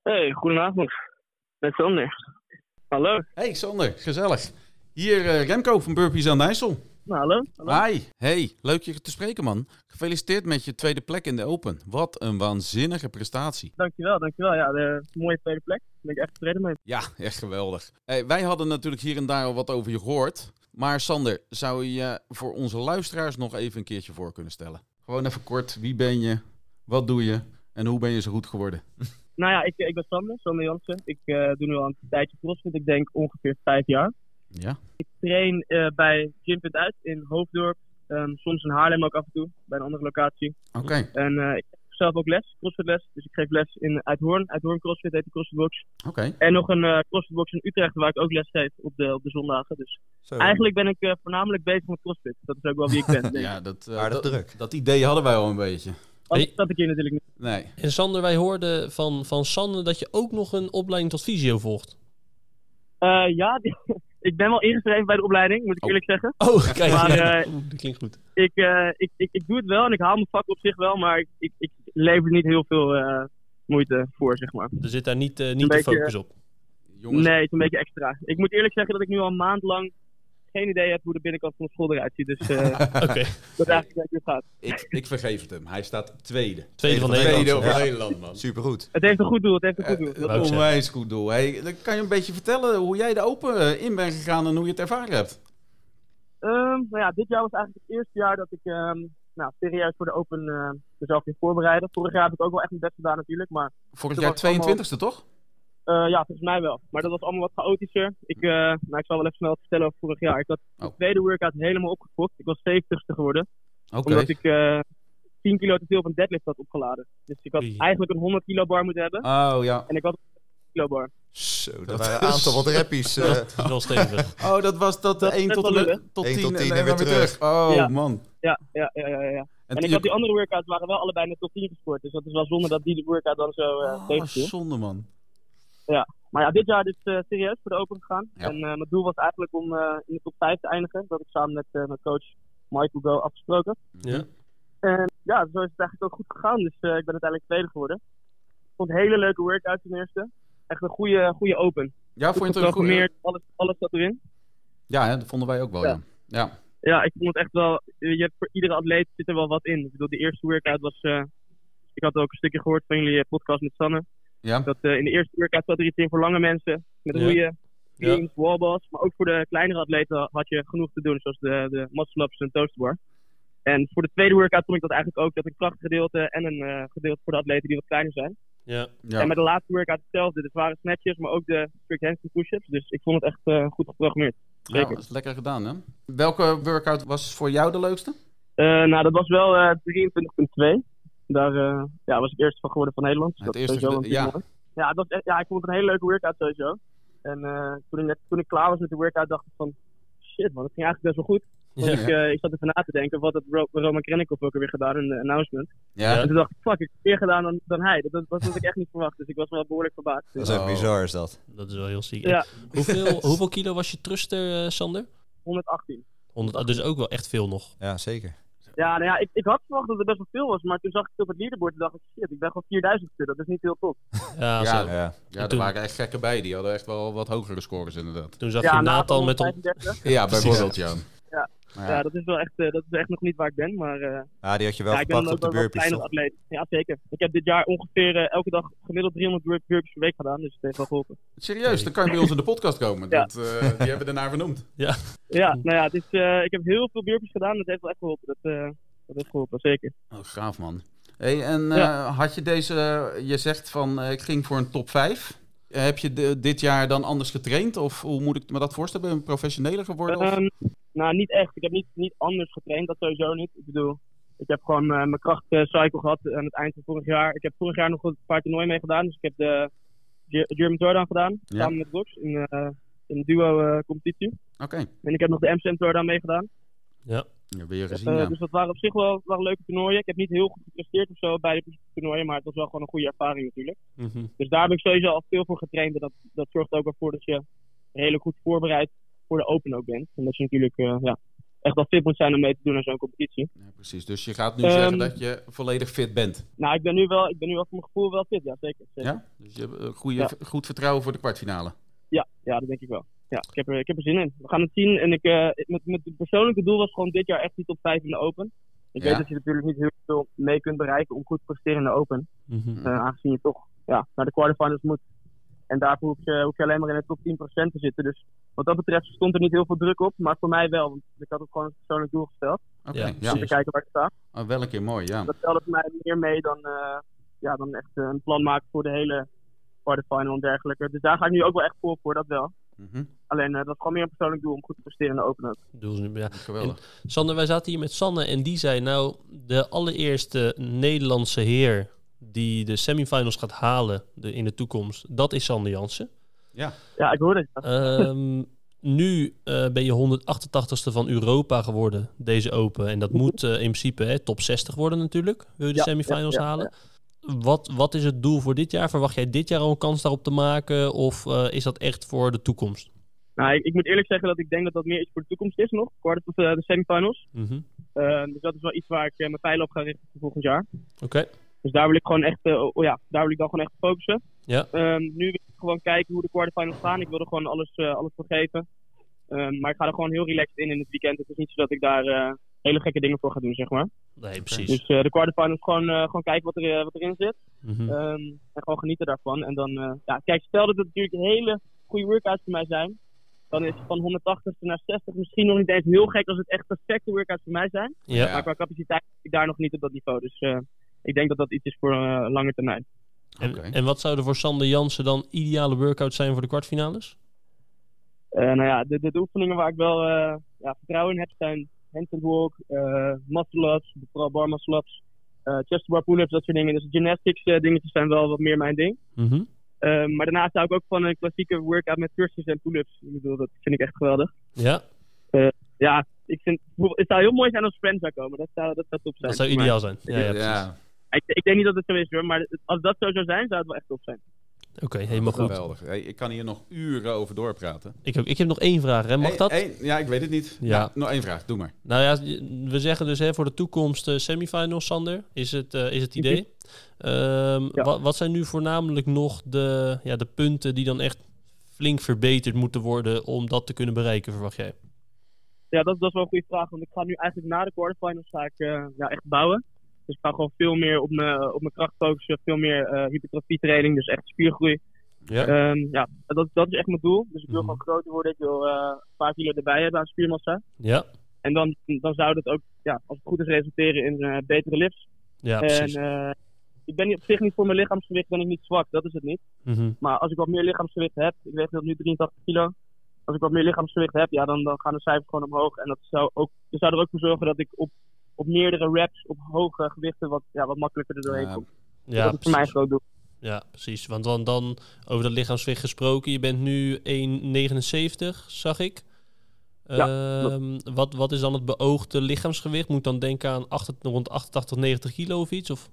[SPEAKER 1] Hey, goedenavond. Met Sander. Hallo.
[SPEAKER 2] Hey Sander, gezellig. Hier eh, Remco van Burpees aan de IJssel.
[SPEAKER 1] Nou, hallo. hallo.
[SPEAKER 2] Hi, hey, leuk je te spreken man. Gefeliciteerd met je tweede plek in de Open. Wat een waanzinnige prestatie.
[SPEAKER 1] Dankjewel, dankjewel. Ja, de mooie tweede plek. Daar ben ik echt tevreden mee.
[SPEAKER 2] Ja, echt geweldig. Hey, wij hadden natuurlijk hier en daar al wat over je gehoord. Maar Sander, zou je voor onze luisteraars nog even een keertje voor kunnen stellen? Gewoon even kort, wie ben je, wat doe je en hoe ben je zo goed geworden?
[SPEAKER 1] Nou ja, ik, ik ben Sander, Sander Jansen. Ik eh, doe nu al een tijdje crossfit. Ik denk ongeveer vijf jaar.
[SPEAKER 2] Ja,
[SPEAKER 1] train eh, bij Gympunt Uit in Hoofddorp. Ehm, soms in Haarlem ook af en toe, bij een andere locatie.
[SPEAKER 2] oké.
[SPEAKER 1] En eh, ik geef zelf ook les, crossfit les. Dus ik geef les in Uithoorn. Uithoorn CrossFit heet de CrossFitbox.
[SPEAKER 2] Oké,
[SPEAKER 1] En nog een eh CrossFitbox in Utrecht waar ik ook les geef op de, op de zondagen. Dus
[SPEAKER 2] Oh.
[SPEAKER 3] Zo.
[SPEAKER 1] eigenlijk ben ik eh, voornamelijk bezig met CrossFit. Dat is ook wel wie ik ben. denk ik.
[SPEAKER 2] ja, dat, eh,
[SPEAKER 3] Aardig
[SPEAKER 2] dat,
[SPEAKER 3] druk.
[SPEAKER 2] dat idee hadden wij al een beetje.
[SPEAKER 1] Anders zat ik hier natuurlijk niet.
[SPEAKER 2] Nee,
[SPEAKER 5] En Sander, wij hoorden van, van Sanne dat je ook nog een opleiding tot fysio volgt.
[SPEAKER 1] Eh, ja, die- ik ben wel ingeschreven bij de opleiding, moet ik
[SPEAKER 2] Oh.
[SPEAKER 1] eerlijk zeggen.
[SPEAKER 5] Oh, kijk.
[SPEAKER 1] Maar,
[SPEAKER 5] ja.
[SPEAKER 1] eh,
[SPEAKER 5] Oeh, dat klinkt goed.
[SPEAKER 1] ik, eh, ik, ik, ik doe het wel en ik haal mijn vak op zich wel, maar ik, ik, ik lever niet heel veel eh, moeite voor, zeg maar.
[SPEAKER 5] Er zit daar niet, eh,
[SPEAKER 1] een
[SPEAKER 5] niet de
[SPEAKER 1] beetje,
[SPEAKER 5] focus op.
[SPEAKER 2] jongens.
[SPEAKER 1] Nee, het is een beetje extra. Ik moet eerlijk zeggen dat ik nu al een maand lang geen idee heb hoe de binnenkant van de school eruit ziet. Dus eh,
[SPEAKER 5] Oké,
[SPEAKER 1] dat is eigenlijk hoe het gaat.
[SPEAKER 2] Ik, ik vergeef het hem. Hij staat tweede.
[SPEAKER 5] tweede van
[SPEAKER 3] van
[SPEAKER 5] Nederland.
[SPEAKER 2] Tweede over
[SPEAKER 3] ja.
[SPEAKER 2] Nederland, man.
[SPEAKER 3] Supergoed.
[SPEAKER 1] Het heeft een goed doel, het heeft een goed doel.
[SPEAKER 2] Eh,
[SPEAKER 1] Dat-
[SPEAKER 5] wou ik
[SPEAKER 2] onwijs goed doel. Hey, dan kan je een beetje vertellen hoe jij de open eh, in bent gegaan en hoe je het ervaren hebt.
[SPEAKER 1] Ehm, nou ja, dit jaar was eigenlijk het eerste jaar dat ik ehm, nou, serieus voor de Open eh, mezelf ging voorbereiden. Vorig jaar heb ik ook wel echt mijn best gedaan natuurlijk, maar
[SPEAKER 2] Vorig
[SPEAKER 1] Toen
[SPEAKER 2] jaar
[SPEAKER 1] was het allemaal-
[SPEAKER 2] 22e, toch?
[SPEAKER 1] eh, ja, volgens mij wel. Maar dat was allemaal wat chaotischer. Ik, eh, nou, ik zal wel even snel vertellen over vorig jaar. Ik had de
[SPEAKER 2] Oh.
[SPEAKER 1] tweede workout helemaal opgefokt. Ik was 70ste geworden.
[SPEAKER 2] Oké.
[SPEAKER 1] Omdat ik eh, 10 kilo te veel van deadlift had opgeladen. Dus ik had
[SPEAKER 5] Oei.
[SPEAKER 1] eigenlijk een 100 kilo bar moeten hebben.
[SPEAKER 2] Oh ja.
[SPEAKER 1] En ik had een 100 kilo bar.
[SPEAKER 6] Zo, dat waren een aantal wat rappies. eh.
[SPEAKER 5] Dat is wel stevig.
[SPEAKER 2] Oh, dat was dat
[SPEAKER 1] Dat
[SPEAKER 2] eh, 1
[SPEAKER 1] is
[SPEAKER 2] tot,
[SPEAKER 1] wel leuk, hè?
[SPEAKER 2] 10 tot
[SPEAKER 6] Eén
[SPEAKER 2] 10
[SPEAKER 6] tot tien
[SPEAKER 2] daarna
[SPEAKER 6] en weer terug.
[SPEAKER 2] Oh
[SPEAKER 1] Ja.
[SPEAKER 2] man.
[SPEAKER 1] Ja, ja, ja, ja, ja, ja. En ik
[SPEAKER 2] je-
[SPEAKER 1] had die andere workouts waren wel allebei net tot 10 gescoord. Dus dat is wel zonde dat die workout dan zo eh
[SPEAKER 2] Oh,
[SPEAKER 1] tegenviel.
[SPEAKER 2] zonde man.
[SPEAKER 1] Maar ja, dit jaar is het serieus voor de open gegaan.
[SPEAKER 2] Ja.
[SPEAKER 1] En eh, mijn doel was eigenlijk om eh, in de top 5 te eindigen. Dat heb ik samen met eh, mijn coach Michael Go afgesproken.
[SPEAKER 5] Ja.
[SPEAKER 1] En ja, zo is het eigenlijk ook goed gegaan. Dus eh, ik ben uiteindelijk tweede geworden. Ik vond hele leuke workouts ten eerste. Echt een goede, goede open.
[SPEAKER 2] Ja, vond je het ook goed?
[SPEAKER 1] Geprogrammeerd, alles, alles zat erin.
[SPEAKER 2] Ja, hè, dat vonden wij ook wel. Ja.
[SPEAKER 1] Ja.
[SPEAKER 2] Ja.
[SPEAKER 1] Ja, ik vond het echt wel. Je hebt voor iedere atleet zit er wel wat in. Ik bedoel, de eerste workout was. eh, ik had ook een stukje gehoord van jullie eh, podcast met Sanne.
[SPEAKER 2] Ja.
[SPEAKER 1] Dat eh, in de eerste workout zat er iets in voor lange mensen. Met
[SPEAKER 5] Ja.
[SPEAKER 1] roeien,
[SPEAKER 5] Ja.
[SPEAKER 1] cleans, wallballs. Maar ook voor de kleinere atleten had je genoeg te doen. Zoals de, de muscle-ups en toastbar. En voor de tweede workout vond ik dat eigenlijk ook. Dat een krachtgedeelte en een eh, gedeelte voor de atleten die wat kleiner zijn.
[SPEAKER 5] Ja.
[SPEAKER 1] En
[SPEAKER 2] Ja.
[SPEAKER 1] met de laatste workout hetzelfde. Dus waren snatches, maar ook de strict handstand push-ups. Dus ik vond het echt eh, goed geprogrammeerd.
[SPEAKER 2] Ja, dat is lekker gedaan hè. Welke workout was voor jou de leukste?
[SPEAKER 1] Eh, nou, dat was wel eh 23.2. Daar eh, ja, was ik eerst van geworden van Nederland. Dus
[SPEAKER 2] Het
[SPEAKER 1] dat is
[SPEAKER 2] eerste
[SPEAKER 1] sowieso
[SPEAKER 2] gede-
[SPEAKER 1] wel een prima. Ja, het was echt- ja, ik vond het een hele leuke workout sowieso. En eh, toen, ik net, toen ik klaar was met de workout, dacht ik van... Shit man, dat ging eigenlijk best wel goed.
[SPEAKER 5] Ja.
[SPEAKER 1] Ik, eh, ik zat even na te denken, wat had Ro- Roman Krennikov ook alweer gedaan in de announcement.
[SPEAKER 2] Ja.
[SPEAKER 1] En toen dacht ik, fuck, ik heb meer gedaan dan, dan hij. Dat, dat was wat ik echt niet verwacht, dus ik was wel behoorlijk verbaasd.
[SPEAKER 3] Dat
[SPEAKER 1] Dus,
[SPEAKER 3] is echt
[SPEAKER 2] Oh.
[SPEAKER 3] bizar, is dat.
[SPEAKER 5] Dat is wel heel ziek.
[SPEAKER 1] ja,
[SPEAKER 5] Hoeveel, hoeveel kilo was je truster, eh, Sander?
[SPEAKER 1] 118.
[SPEAKER 5] 100, ah, dus ook wel echt veel nog.
[SPEAKER 3] Ja, zeker.
[SPEAKER 1] Ja, nou ja, ik, ik had verwacht dat het best wel veel was, maar toen zag ik het op het leaderboard en dacht ik, shit, ik ben gewoon 4000 dat is niet heel top.
[SPEAKER 5] Ja,
[SPEAKER 2] Ja.
[SPEAKER 5] zo.
[SPEAKER 3] Ja.
[SPEAKER 2] Ja, er
[SPEAKER 5] Toen-
[SPEAKER 2] waren echt gekken bij. Die hadden echt wel wat hogere scores inderdaad.
[SPEAKER 5] Toen zag
[SPEAKER 1] ja,
[SPEAKER 5] je Nathan met... on-
[SPEAKER 1] 135.
[SPEAKER 2] Ja,
[SPEAKER 5] Precies.
[SPEAKER 2] bijvoorbeeld Jan.
[SPEAKER 1] Ja, dat is wel echt, eh, dat is echt nog niet waar ik ben, maar eh,
[SPEAKER 3] Ah, die had je wel
[SPEAKER 1] ja, ik ben
[SPEAKER 3] gepakt
[SPEAKER 1] ook
[SPEAKER 3] op de
[SPEAKER 1] wel een
[SPEAKER 3] burpees,
[SPEAKER 1] kleiner
[SPEAKER 3] toch?
[SPEAKER 1] atleet. Ja, zeker. Ik heb dit jaar ongeveer eh, elke dag gemiddeld 300 bur- burpees per week gedaan, dus het heeft wel geholpen.
[SPEAKER 2] Serieus, dan kan je bij ons in de podcast komen.
[SPEAKER 1] Ja.
[SPEAKER 2] Dat, eh, die hebben we daarna vernoemd.
[SPEAKER 1] Ja, nou ja, het is, eh, ik heb heel veel burpees gedaan, dat heeft wel echt geholpen. Dat, eh, dat heeft geholpen, zeker.
[SPEAKER 2] Oh, gaaf man. Hey, en
[SPEAKER 1] Ja.
[SPEAKER 2] eh, had je deze, je zegt van eh, ik ging voor een top 5. Heb je de- dit jaar dan anders getraind? Of hoe moet ik me dat voorstellen? Ben je professioneler geworden? Of?
[SPEAKER 1] Ehm, nou, niet echt. Ik heb niet, niet anders getraind, dat sowieso niet. Ik bedoel, ik heb gewoon eh, mijn krachtcycle gehad aan het eind van vorig jaar. Ik heb vorig jaar nog een paar toernooien mee gedaan, dus ik heb de Ge- German Throwdown gedaan,
[SPEAKER 2] Ja.
[SPEAKER 1] samen met Box in, eh, in duo-competitie.
[SPEAKER 2] Oké,
[SPEAKER 1] en ik heb nog de MCM Throwdown meegedaan.
[SPEAKER 5] Ja.
[SPEAKER 2] Ja, weer
[SPEAKER 1] Eh,
[SPEAKER 2] gezien. ja.
[SPEAKER 1] Dus dat waren op zich wel, wel leuke toernooien. Ik heb niet heel goed gepresteerd of zo bij de toernooien, maar het was wel gewoon een goede ervaring natuurlijk.
[SPEAKER 5] Mhm.
[SPEAKER 1] Dus daar heb ik sowieso al veel voor getraind. En dat, dat zorgt er ook wel voor dat je redelijk goed voorbereid voor de Open ook bent. En dat je natuurlijk eh, ja, echt wel fit moet zijn om mee te doen aan zo'n competitie.
[SPEAKER 2] Ja, precies. Dus je gaat nu
[SPEAKER 1] Ehm,
[SPEAKER 2] zeggen dat je volledig fit bent.
[SPEAKER 1] Nou, ik ben nu wel, ik ben nu wel voor mijn gevoel wel fit, ja zeker. zeker.
[SPEAKER 2] Ja? Dus je hebt eh, goede,
[SPEAKER 1] Ja.
[SPEAKER 2] goed vertrouwen voor de kwartfinale.
[SPEAKER 1] Ja, ja, dat denk ik wel. Ja, ik heb, er, ik heb er zin in. We gaan het zien. En ik, eh, met, met het persoonlijke doel was gewoon dit jaar echt die top 5 in de Open. Ik
[SPEAKER 2] Ja.
[SPEAKER 1] weet dat je natuurlijk niet heel veel mee kunt bereiken om goed te presteren in de Open.
[SPEAKER 5] Mhm.
[SPEAKER 1] Eh, aangezien je toch ja, naar de quarterfinals moet. En daarvoor hoef je, hoef je alleen maar in de top 10% te zitten. Dus wat dat betreft stond er niet heel veel druk op. Maar voor mij wel, want ik had ook gewoon een persoonlijk doel gesteld.
[SPEAKER 2] Oké,
[SPEAKER 5] Ja,
[SPEAKER 2] ja.
[SPEAKER 1] Om
[SPEAKER 5] precies.
[SPEAKER 1] te kijken waar ik sta.
[SPEAKER 2] Oh, wel een keer mooi, ja.
[SPEAKER 1] Dat stelde voor mij meer mee dan, eh, ja, dan echt eh, een plan maken voor de hele quarterfinal en dergelijke. Dus daar ga ik nu ook wel echt vol voor, dat wel.
[SPEAKER 2] Mhm.
[SPEAKER 1] Alleen eh, dat is gewoon meer een persoonlijk doel om goed te presteren in de open. ook.
[SPEAKER 5] Doel is nu- ja.
[SPEAKER 2] Geweldig.
[SPEAKER 5] Sander, wij zaten hier met Sanne en die zei nou, de allereerste Nederlandse heer die de semifinals gaat halen de- in de toekomst, dat is Sander Jansen.
[SPEAKER 1] Ja, ik hoor het. ja.
[SPEAKER 5] Ehm, nu eh, ben je 188ste van Europa geworden, deze Open. En dat moet eh, in principe hè, top 60 worden natuurlijk, wil je de
[SPEAKER 1] Ja,
[SPEAKER 5] semifinals
[SPEAKER 1] ja, ja,
[SPEAKER 5] halen. Wat, wat is het doel voor dit jaar? Verwacht jij dit jaar al een kans daarop te maken? Of eh, is dat echt voor de toekomst?
[SPEAKER 1] Nou, ik, ik moet eerlijk zeggen dat ik denk dat dat meer iets voor de toekomst is nog. Kwart of eh, de semifinals.
[SPEAKER 5] Mhm.
[SPEAKER 1] Eh, dus dat is wel iets waar ik eh, mijn pijlen op ga richten voor volgend jaar.
[SPEAKER 5] Oké,
[SPEAKER 1] Dus daar wil ik gewoon echt, eh, oh ja, daar wil ik dan gewoon echt op focussen.
[SPEAKER 5] Ja.
[SPEAKER 1] Ehm, nu wil ik gewoon kijken hoe de quarterfinals gaan. Ik wil er gewoon alles, eh, alles voor geven. Ehm, maar ik ga er gewoon heel relaxed in in het weekend. Het is niet zo dat ik daar eh, hele gekke dingen voor ga doen, zeg maar.
[SPEAKER 5] nee, precies.
[SPEAKER 1] Dus eh, de quarterfinals gewoon, eh, gewoon kijken wat, er, eh, wat erin zit.
[SPEAKER 5] Mhm.
[SPEAKER 1] Ehm, en gewoon genieten daarvan. En dan, eh, ja, kijk, stel dat het natuurlijk hele goede workouts voor mij zijn. Dan is het van 180 naar 60 misschien nog niet eens heel gek als het echt perfecte workouts voor mij zijn.
[SPEAKER 5] ja.
[SPEAKER 1] Maar qua capaciteit zit ik daar nog niet op dat niveau. Dus eh, ik denk dat dat iets is voor eh lange termijn.
[SPEAKER 5] En,
[SPEAKER 2] Oké.
[SPEAKER 5] en wat zouden voor Sander Jansen dan ideale workouts zijn voor de kwartfinales?
[SPEAKER 1] Eh, nou ja, de, de, de oefeningen waar ik wel eh, ja, vertrouwen in heb zijn handstand walk, eh muscle ups, vooral bar muscle ups, eh chest bar pull-ups, dat soort dingen. Dus gymnastics eh, dingetjes zijn wel wat meer mijn ding.
[SPEAKER 5] Mhm.
[SPEAKER 1] Ehm, maar daarnaast hou ik ook van een klassieke workout met thrusters en pull-ups. Ik bedoel, dat vind ik echt geweldig.
[SPEAKER 5] Ja,
[SPEAKER 1] Ja, ik vind, het zou heel mooi zijn als Friends zou komen. Dat zou, dat zou top zijn.
[SPEAKER 5] dat zou
[SPEAKER 1] Maar
[SPEAKER 5] ideaal zijn. Ja, ja, precies.
[SPEAKER 7] ja,
[SPEAKER 1] ik, ik denk niet dat het zo is hoor, maar het- als dat zo zou zijn, zou het wel echt top zijn.
[SPEAKER 5] Oké, helemaal goed.
[SPEAKER 2] Geweldig. Hey, ik kan hier nog uren over doorpraten.
[SPEAKER 5] Ik, heb- ik heb nog één vraag, hè. Mag
[SPEAKER 2] Eén-
[SPEAKER 5] dat?
[SPEAKER 2] één- ja, ik weet het niet.
[SPEAKER 5] Ja.
[SPEAKER 2] Ja, nog één vraag. Doe maar.
[SPEAKER 5] Nou ja, we zeggen dus hè, voor de toekomst eh, semifinals, Sander, is het, eh, is het idee. Ehm,
[SPEAKER 1] Ja.
[SPEAKER 5] wat, wat zijn nu voornamelijk nog de, ja, de punten die dan echt flink verbeterd moeten worden om dat te kunnen bereiken, verwacht jij?
[SPEAKER 1] Ja, dat, dat is wel een goede vraag. Want ik ga nu eigenlijk na de quarterfinals ga ik, eh, ja, echt bouwen. Dus ik ga gewoon veel meer op mijn op mijn kracht focussen. Veel meer eh hypertrofie training, dus echt spiergroei.
[SPEAKER 5] Ja.
[SPEAKER 1] Ehm, ja dat, dat is echt mijn doel. Dus ik wil
[SPEAKER 5] Mhm.
[SPEAKER 1] gewoon groter worden. Ik wil eh, een paar kilo erbij hebben aan spiermassa.
[SPEAKER 5] Ja,
[SPEAKER 1] En dan, dan zou dat ook, ja, als het goed is, resulteren in eh, betere lifts.
[SPEAKER 5] ja
[SPEAKER 1] en
[SPEAKER 5] precies.
[SPEAKER 1] eh, ik ben niet- op zich niet voor mijn lichaamsgewicht, ben ik niet zwak. Dat is het niet.
[SPEAKER 5] Mhm.
[SPEAKER 1] Maar als ik wat meer lichaamsgewicht heb, ik weeg nu 83 kilo. Als ik wat meer lichaamsgewicht heb, ja, dan, dan gaan de cijfers gewoon omhoog. En dat zou, ook, dat zou er ook voor zorgen dat ik op, op meerdere reps, op hoge gewichten, wat, ja, wat makkelijker er doorheen
[SPEAKER 2] Ja.
[SPEAKER 1] kom.
[SPEAKER 5] Ja,
[SPEAKER 1] dat is voor mij een
[SPEAKER 5] precies.
[SPEAKER 1] groot doel.
[SPEAKER 5] ja, precies. Want dan, dan over dat lichaamsgewicht gesproken, je bent nu 1,79, zag ik. Ehm, wat, wat is dan het beoogde lichaamsgewicht? Moet ik dan denken aan 8, rond 88, 90 kilo of iets? Of?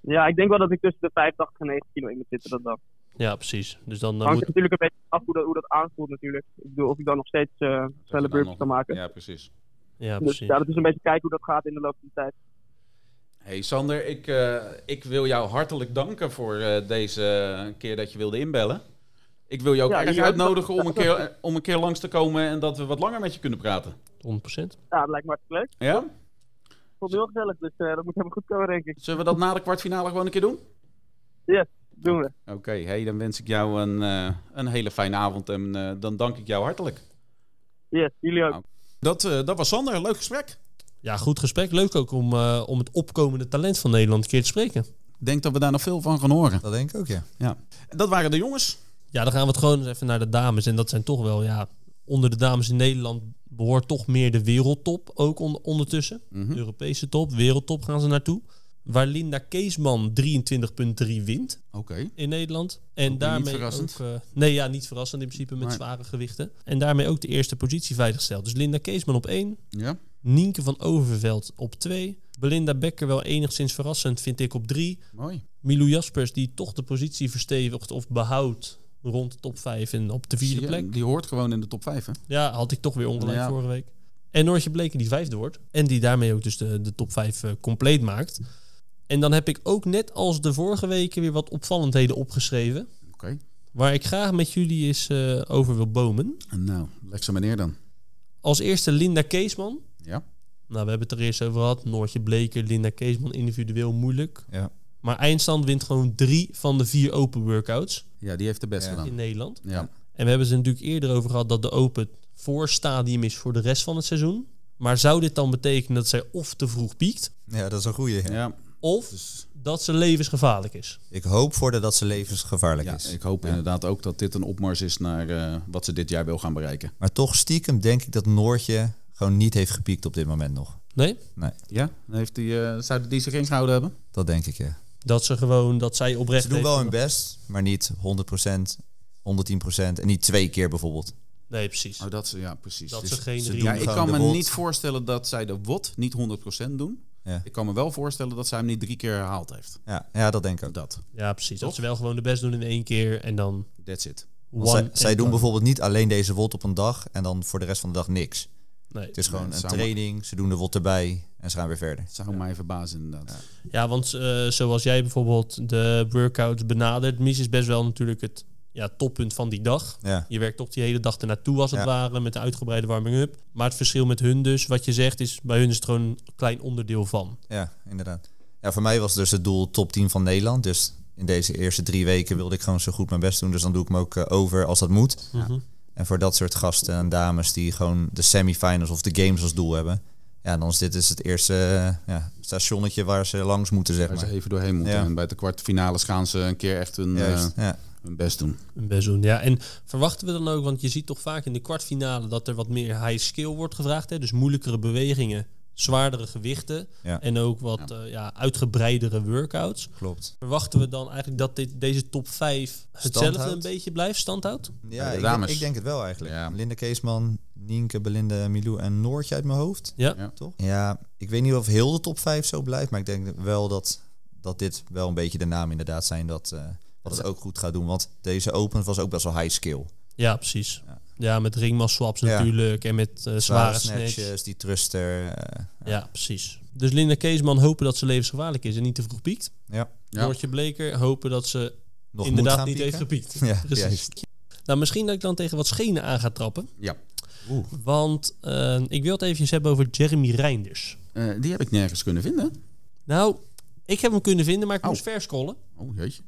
[SPEAKER 1] Ja, ik denk wel dat ik tussen de 85 en 90 kilo in moet zitten. Dat dan.
[SPEAKER 5] Ja, precies. Dus dan, dan
[SPEAKER 1] Hangt
[SPEAKER 5] moet...
[SPEAKER 1] er natuurlijk een beetje af hoe dat, hoe dat aanvoelt natuurlijk. Ik bedoel, of ik dan nog steeds eh
[SPEAKER 2] dan
[SPEAKER 1] snelle burpees
[SPEAKER 2] nog-
[SPEAKER 1] kan maken.
[SPEAKER 2] Ja, precies.
[SPEAKER 5] Ja,
[SPEAKER 1] dus
[SPEAKER 5] precies.
[SPEAKER 1] ja, dat is een beetje kijken hoe dat gaat in de loop van de tijd.
[SPEAKER 2] Hey Sander, ik, eh, ik wil jou hartelijk danken voor eh, deze keer dat je wilde inbellen. Ik wil je ook
[SPEAKER 1] Ja,
[SPEAKER 2] erg
[SPEAKER 1] jullie ook.
[SPEAKER 2] uitnodigen om een, keer, om een keer langs te komen en dat we wat langer met je kunnen praten.
[SPEAKER 5] 100%.
[SPEAKER 1] Ja, dat lijkt me hartstikke leuk.
[SPEAKER 2] Ja?
[SPEAKER 1] Ik vond het heel gezellig, dus eh, dat moet helemaal goed komen, denk ik.
[SPEAKER 2] Zullen we dat na de kwartfinale gewoon een keer doen?
[SPEAKER 1] Doen we.
[SPEAKER 2] Oké, hey, dan wens ik jou een, eh, een hele fijne avond en eh, dan dank ik jou hartelijk.
[SPEAKER 1] Yes, jullie ook.
[SPEAKER 2] Dat, eh, dat was Sander, leuk gesprek.
[SPEAKER 5] Ja, goed gesprek. Leuk ook om, eh, om het opkomende talent van Nederland een keer te spreken.
[SPEAKER 2] Ik denk dat we daar nog veel van gaan horen.
[SPEAKER 3] Dat denk ik ook, ja.
[SPEAKER 2] Dat waren de jongens.
[SPEAKER 5] Ja, dan gaan we het gewoon eens even naar de dames. En dat zijn toch wel, ja, onder de dames in Nederland behoort toch meer de wereldtop ook on- ondertussen.
[SPEAKER 2] Mhm.
[SPEAKER 5] Europese top, wereldtop gaan ze naartoe. Waar Linda Keesman 23.3 wint
[SPEAKER 2] Oké.
[SPEAKER 5] in Nederland. En
[SPEAKER 2] niet
[SPEAKER 5] daarmee
[SPEAKER 2] verrassend.
[SPEAKER 5] ook... eh, nee, ja, niet verrassend in principe met
[SPEAKER 2] Maar-
[SPEAKER 5] zware gewichten. En daarmee ook de eerste positie veiliggesteld. Dus Linda Keesman op 1,
[SPEAKER 2] Ja.
[SPEAKER 5] Nienke van Overveld op 2. Belinda Becker wel enigszins verrassend, vind ik, op 3.
[SPEAKER 2] Mooi.
[SPEAKER 5] Milou Jaspers, die toch de positie verstevigt of behoudt rond de top 5 en op de
[SPEAKER 2] Zie
[SPEAKER 5] vierde
[SPEAKER 2] je,
[SPEAKER 5] plek.
[SPEAKER 2] Die hoort gewoon in de top 5, hè?
[SPEAKER 5] Ja, had ik toch weer ongelijk
[SPEAKER 2] Ja.
[SPEAKER 5] vorige week. En Noortje Bleken, die vijfde wordt. En die daarmee ook dus de, de top 5 compleet maakt. En dan heb ik ook net als de vorige weken weer wat opvallendheden opgeschreven.
[SPEAKER 2] Oké.
[SPEAKER 5] Waar ik graag met jullie eens eh, over wil bomen.
[SPEAKER 2] Nou, leg ze meneer dan.
[SPEAKER 5] Als eerste Linda Keesman.
[SPEAKER 2] Ja.
[SPEAKER 5] Nou, we hebben het er eerst over gehad. Noortje Bleker, Linda Keesman individueel moeilijk.
[SPEAKER 3] Ja.
[SPEAKER 5] Maar eindstand wint gewoon drie van de vier open workouts
[SPEAKER 2] Ja, die heeft de best
[SPEAKER 3] Ja.
[SPEAKER 2] gedaan.
[SPEAKER 5] in Nederland.
[SPEAKER 2] Ja.
[SPEAKER 5] En we hebben het er natuurlijk eerder over gehad dat de Open voorstadium is voor de rest van het seizoen. Maar zou dit dan betekenen dat zij of te vroeg piekt,
[SPEAKER 3] Ja, dat is een goeie. ja.
[SPEAKER 2] Ja,
[SPEAKER 5] of
[SPEAKER 2] dus,
[SPEAKER 5] dat ze levensgevaarlijk is?
[SPEAKER 3] Ik hoop voor de dat ze levensgevaarlijk
[SPEAKER 2] ja
[SPEAKER 3] is.
[SPEAKER 2] ik hoop inderdaad ook dat dit een opmars is naar eh, wat ze dit jaar wil gaan bereiken.
[SPEAKER 3] Maar toch stiekem denk ik dat Noortje gewoon niet heeft gepiekt op dit moment nog.
[SPEAKER 5] Nee?
[SPEAKER 2] Ja? Heeft die, eh, zouden die zich ingehouden hebben?
[SPEAKER 3] Dat denk ik, ja.
[SPEAKER 5] Dat ze gewoon, dat zij oprecht.
[SPEAKER 3] Ze doen
[SPEAKER 5] heeft
[SPEAKER 3] wel hun
[SPEAKER 5] van-
[SPEAKER 3] best, maar niet 100%, 110% en niet twee keer bijvoorbeeld.
[SPEAKER 5] Nee, precies.
[SPEAKER 2] Oh, dat ze, ja, precies.
[SPEAKER 5] Dat
[SPEAKER 2] Dus-
[SPEAKER 5] ze geen
[SPEAKER 3] ze
[SPEAKER 5] riem-
[SPEAKER 3] doen
[SPEAKER 2] ja, ik
[SPEAKER 3] Gewoon
[SPEAKER 2] kan
[SPEAKER 3] de
[SPEAKER 2] me
[SPEAKER 3] wot.
[SPEAKER 2] niet voorstellen dat zij de WOT niet 100% doen.
[SPEAKER 3] Ja.
[SPEAKER 2] Ik kan me wel voorstellen dat zij hem niet drie keer herhaald heeft.
[SPEAKER 3] Ja, ja dat denk ik ook.
[SPEAKER 2] Dat.
[SPEAKER 5] Ja, precies. Dat ze wel gewoon de best doen in één keer en dan.
[SPEAKER 2] That's it.
[SPEAKER 5] One
[SPEAKER 3] Want zij,
[SPEAKER 5] and
[SPEAKER 3] zij doen
[SPEAKER 5] done.
[SPEAKER 3] bijvoorbeeld niet alleen deze wot op een dag en dan voor de rest van de dag niks.
[SPEAKER 5] Nee.
[SPEAKER 3] Het is gewoon
[SPEAKER 2] Nee,
[SPEAKER 3] een
[SPEAKER 2] samen-
[SPEAKER 3] training, ze doen de wot erbij en ze gaan weer verder.
[SPEAKER 2] Zou mij verbazen inderdaad.
[SPEAKER 5] Ja, want eh, zoals jij bijvoorbeeld de workouts benadert, mis is best wel natuurlijk het ja, toppunt van die dag.
[SPEAKER 3] Ja,
[SPEAKER 5] Je werkt toch die hele dag ernaartoe als het
[SPEAKER 3] Ja.
[SPEAKER 5] ware met de uitgebreide warming-up. Maar het verschil met hun dus, wat je zegt, is bij hun is het gewoon een klein onderdeel van.
[SPEAKER 3] ja inderdaad. Ja, voor mij was dus het doel top 10 van Nederland. Dus in deze eerste drie weken wilde ik gewoon zo goed mijn best doen. Dus dan doe ik hem ook eh, over als dat moet.
[SPEAKER 5] Mhm.
[SPEAKER 3] En voor dat soort gasten en dames die gewoon de semifinals of de games als doel hebben. Ja, dan is dit dus het eerste eh, ja, stationnetje waar ze langs moeten, zeg
[SPEAKER 2] Waar ze
[SPEAKER 3] maar.
[SPEAKER 2] even doorheen moeten.
[SPEAKER 3] Ja.
[SPEAKER 2] En bij de kwartfinales gaan ze een keer echt hun,
[SPEAKER 3] Juist,
[SPEAKER 2] eh,
[SPEAKER 3] ja.
[SPEAKER 2] hun best doen.
[SPEAKER 5] Een best doen, ja. En verwachten we dan ook, want je ziet toch vaak in de kwartfinale dat er wat meer high skill wordt gevraagd. Hè? Dus moeilijkere bewegingen zwaardere gewichten
[SPEAKER 3] Ja.
[SPEAKER 5] en ook wat eh, ja, uitgebreidere workouts.
[SPEAKER 3] Klopt.
[SPEAKER 5] Verwachten we dan eigenlijk dat dit, deze top 5 hetzelfde
[SPEAKER 3] Standhoudt?
[SPEAKER 5] een beetje blijft, standhoudt?
[SPEAKER 3] Ja,
[SPEAKER 2] de
[SPEAKER 3] ik,
[SPEAKER 2] dames.
[SPEAKER 3] ik denk het wel eigenlijk.
[SPEAKER 2] Ja.
[SPEAKER 3] Linda Keesman, Nienke, Belinda, Milou en Noortje uit mijn hoofd.
[SPEAKER 5] Ja.
[SPEAKER 2] Ja.
[SPEAKER 3] Toch? Ja, ik weet niet of heel de top 5 zo blijft, maar ik denk wel dat, dat dit wel een beetje de naam inderdaad zijn dat, eh dat het ook goed gaat doen. Want deze open was ook best wel high skill.
[SPEAKER 5] Ja, precies.
[SPEAKER 3] Ja.
[SPEAKER 5] Ja, met ringmuscle swaps
[SPEAKER 3] Ja.
[SPEAKER 5] natuurlijk en met eh, zware snatches.
[SPEAKER 3] die thruster. eh,
[SPEAKER 5] Ja, precies. Dus Linda Keesman hopen dat ze levensgevaarlijk is en niet te vroeg piekt.
[SPEAKER 3] ja,
[SPEAKER 2] Ja.
[SPEAKER 5] Noortje Bleker hopen dat ze
[SPEAKER 3] nog moet
[SPEAKER 5] inderdaad
[SPEAKER 3] gaan
[SPEAKER 5] niet heeft
[SPEAKER 3] pieken.
[SPEAKER 5] gepiekt.
[SPEAKER 3] Ja,
[SPEAKER 5] precies.
[SPEAKER 3] juist.
[SPEAKER 5] Nou, misschien dat ik dan tegen wat schenen aan ga trappen.
[SPEAKER 2] Ja.
[SPEAKER 3] Oeh.
[SPEAKER 5] Want eh, ik wil het eventjes hebben over Jeremy Reinders.
[SPEAKER 2] Eh, die heb ik nergens kunnen vinden.
[SPEAKER 5] Nou, ik heb hem kunnen vinden, maar ik
[SPEAKER 2] Au.
[SPEAKER 5] moest verscrollen.
[SPEAKER 2] Oh jeetje.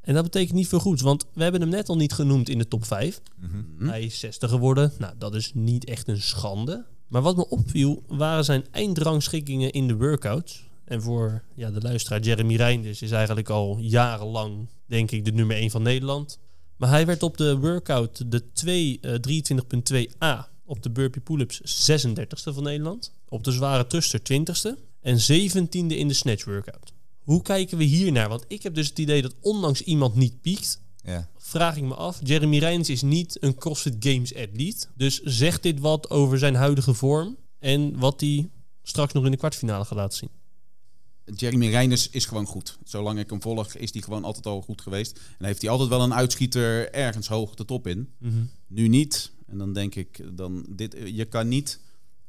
[SPEAKER 5] En dat betekent niet veel goeds, want we hebben hem net al niet genoemd in de top 5. Mm-hmm. Hij is 60 geworden. Nou, dat is niet echt een schande. Maar wat me opviel waren zijn eindrangschikkingen in de workouts. En voor ja, de luisteraar Jeremy Reinders is eigenlijk al jarenlang, denk ik, de nummer 1 van Nederland. Maar hij werd op de workout de 2, eh, 23.2a op de burpee pull-ups 36e van Nederland. Op de zware thruster 20ste. En 17e in de snatch workout. Hoe kijken we hier naar? Want ik heb dus het idee dat ondanks iemand niet piekt,
[SPEAKER 3] Ja.
[SPEAKER 5] vraag ik me af. Jeremy Reins is niet een CrossFit Games atleet. Dus zegt dit wat over zijn huidige vorm en wat hij straks nog in de kwartfinale gaat laten zien?
[SPEAKER 2] Jeremy Reinders is gewoon goed. Zolang ik hem volg, is hij gewoon altijd al goed geweest. En heeft hij altijd wel een uitschieter ergens hoog de top in. Nu niet. En dan denk ik, dan dit, je kan niet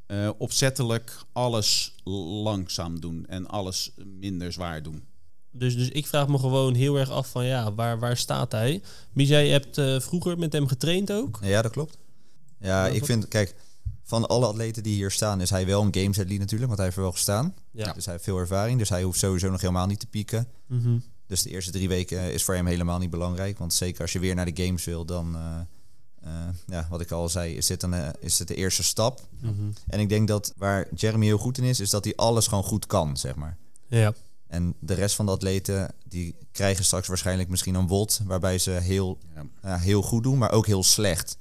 [SPEAKER 2] eh, opzettelijk alles langzaam doen en alles minder zwaar doen.
[SPEAKER 5] Dus, dus ik vraag me gewoon heel erg af van ja, waar, waar staat hij? Mies, jij hebt eh, vroeger met hem getraind ook.
[SPEAKER 3] Ja, dat klopt. Ja, ik vind, kijk, van alle atleten die hier staan, is hij wel een games atleet natuurlijk, want hij heeft er wel gestaan.
[SPEAKER 5] Ja.
[SPEAKER 3] Dus hij heeft veel ervaring, dus hij hoeft sowieso nog helemaal niet te pieken.
[SPEAKER 5] Mhm.
[SPEAKER 3] Dus de eerste drie weken eh, is voor hem helemaal niet belangrijk. Want zeker als je weer naar de games wil, dan, eh, eh, ja, wat ik al zei, is dit, een, eh, is dit de eerste stap.
[SPEAKER 5] Mhm.
[SPEAKER 3] En ik denk dat waar Jeremy heel goed in is, is dat hij alles gewoon goed kan, zeg maar.
[SPEAKER 5] Ja.
[SPEAKER 3] En de rest van de atleten, die krijgen straks waarschijnlijk misschien een WOT, waarbij ze heel,
[SPEAKER 2] Ja.
[SPEAKER 3] ja, heel goed doen, maar ook heel slecht.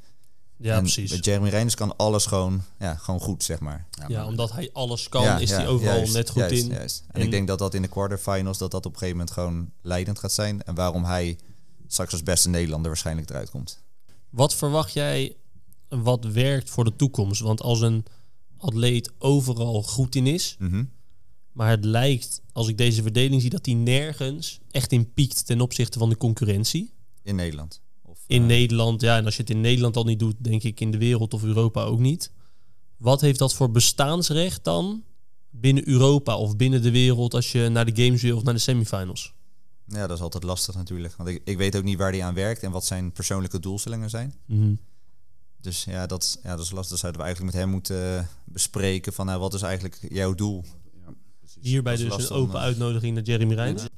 [SPEAKER 5] Ja,
[SPEAKER 3] en
[SPEAKER 5] precies.
[SPEAKER 3] bij Jeremy Reinders kan alles gewoon, ja, gewoon goed, zeg maar.
[SPEAKER 5] Ja, omdat hij alles kan,
[SPEAKER 3] Ja,
[SPEAKER 5] is
[SPEAKER 3] ja,
[SPEAKER 5] hij overal
[SPEAKER 3] juist,
[SPEAKER 5] net goed
[SPEAKER 3] juist,
[SPEAKER 5] in.
[SPEAKER 3] juist. En,
[SPEAKER 5] En-
[SPEAKER 3] ik denk dat dat in de quarterfinals dat dat op een gegeven moment gewoon leidend gaat zijn. En waarom hij straks als beste Nederlander waarschijnlijk eruit komt.
[SPEAKER 5] Wat verwacht jij wat werkt voor de toekomst? Want als een atleet overal goed in is,
[SPEAKER 3] Mhm.
[SPEAKER 5] maar het lijkt, als ik deze verdeling zie, dat hij nergens echt in piekt ten opzichte van de concurrentie.
[SPEAKER 3] In Nederland. Of,
[SPEAKER 5] In
[SPEAKER 3] eh,
[SPEAKER 5] Nederland, ja, en als je het in Nederland al niet doet, denk ik in de wereld of Europa ook niet. Wat heeft dat voor bestaansrecht dan binnen Europa of binnen de wereld als je naar de games wil of naar de semifinals?
[SPEAKER 3] Ja, dat is altijd lastig natuurlijk. Want ik, ik weet ook niet waar hij aan werkt en wat zijn persoonlijke doelstellingen zijn.
[SPEAKER 5] Mhm.
[SPEAKER 3] Dus ja, dat, is- ja, dat is lastig. Dat zouden we eigenlijk met hem moeten eh, bespreken. Van nou, wat is eigenlijk jouw doel?
[SPEAKER 5] Hierbij
[SPEAKER 3] Dat is
[SPEAKER 5] dus een
[SPEAKER 3] lastig
[SPEAKER 5] open
[SPEAKER 3] om, eh,
[SPEAKER 5] uitnodiging naar Jeremy Reijns.
[SPEAKER 2] Ja.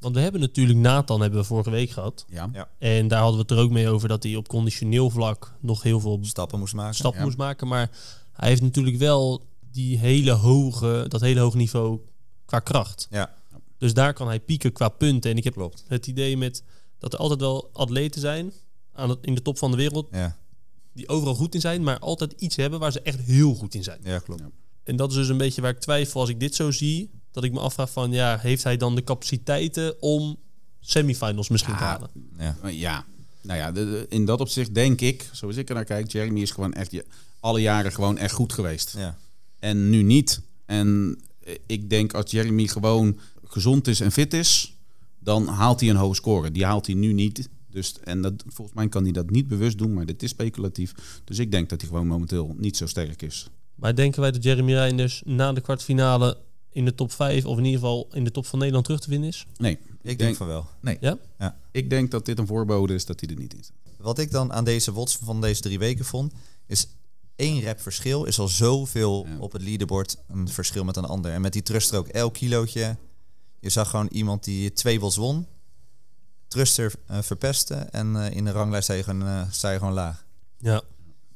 [SPEAKER 5] Want we hebben natuurlijk Nathan hebben we vorige week gehad.
[SPEAKER 2] Ja.
[SPEAKER 3] Ja.
[SPEAKER 5] En daar hadden we het er ook mee over dat hij op conditioneel vlak nog heel veel
[SPEAKER 3] Stappen moest maken.
[SPEAKER 5] stap
[SPEAKER 2] Ja.
[SPEAKER 5] moest maken. Maar hij heeft natuurlijk wel die hele hoge, dat hele hoog niveau qua kracht.
[SPEAKER 3] Ja.
[SPEAKER 5] Dus daar kan hij pieken qua punten. En ik heb
[SPEAKER 3] Klopt.
[SPEAKER 5] het idee met dat er altijd wel atleten zijn aan het, in de top van de wereld
[SPEAKER 3] Ja,
[SPEAKER 5] die overal goed in zijn, maar altijd iets hebben waar ze echt heel goed in zijn.
[SPEAKER 3] ja klopt.
[SPEAKER 2] Ja.
[SPEAKER 5] En dat is dus een beetje waar ik twijfel als ik dit zo zie. Dat ik me afvraag van, ja, heeft hij dan de capaciteiten om semifinals misschien te
[SPEAKER 2] Ja.
[SPEAKER 5] halen?
[SPEAKER 2] Eh, Ja, nou ja, de- de- in dat opzicht denk ik, zoals ik er naar kijk, Jeremy is gewoon echt je, alle jaren gewoon echt goed geweest.
[SPEAKER 3] Ja.
[SPEAKER 2] En nu niet. En eh, ik denk als Jeremy gewoon gezond is en fit is, dan haalt hij een hoge score. Die haalt hij nu niet. Dus, en dat, volgens mij kan hij dat niet bewust doen, maar dit is speculatief. Dus ik denk dat hij gewoon momenteel niet zo sterk is.
[SPEAKER 5] Maar denken wij dat Jeremy Reinders na de kwartfinale in de top 5 of in ieder geval in de top van Nederland terug te vinden is?
[SPEAKER 2] Nee,
[SPEAKER 3] Ik denk,
[SPEAKER 2] denk-
[SPEAKER 3] van wel.
[SPEAKER 5] Ja?
[SPEAKER 2] ik denk dat dit een voorbode is dat hij er niet in staat.
[SPEAKER 3] Wat ik dan aan deze wots van deze drie weken vond, is één rep verschil is al zoveel
[SPEAKER 2] Ja.
[SPEAKER 3] op het leaderboard een verschil met een ander. En met die thruster ook elk kilootje. Je zag gewoon iemand die twee wots won, thruster eh, verpestte en eh, in de ranglijst zei je gewoon, eh, sta je gewoon laag.
[SPEAKER 5] Ja,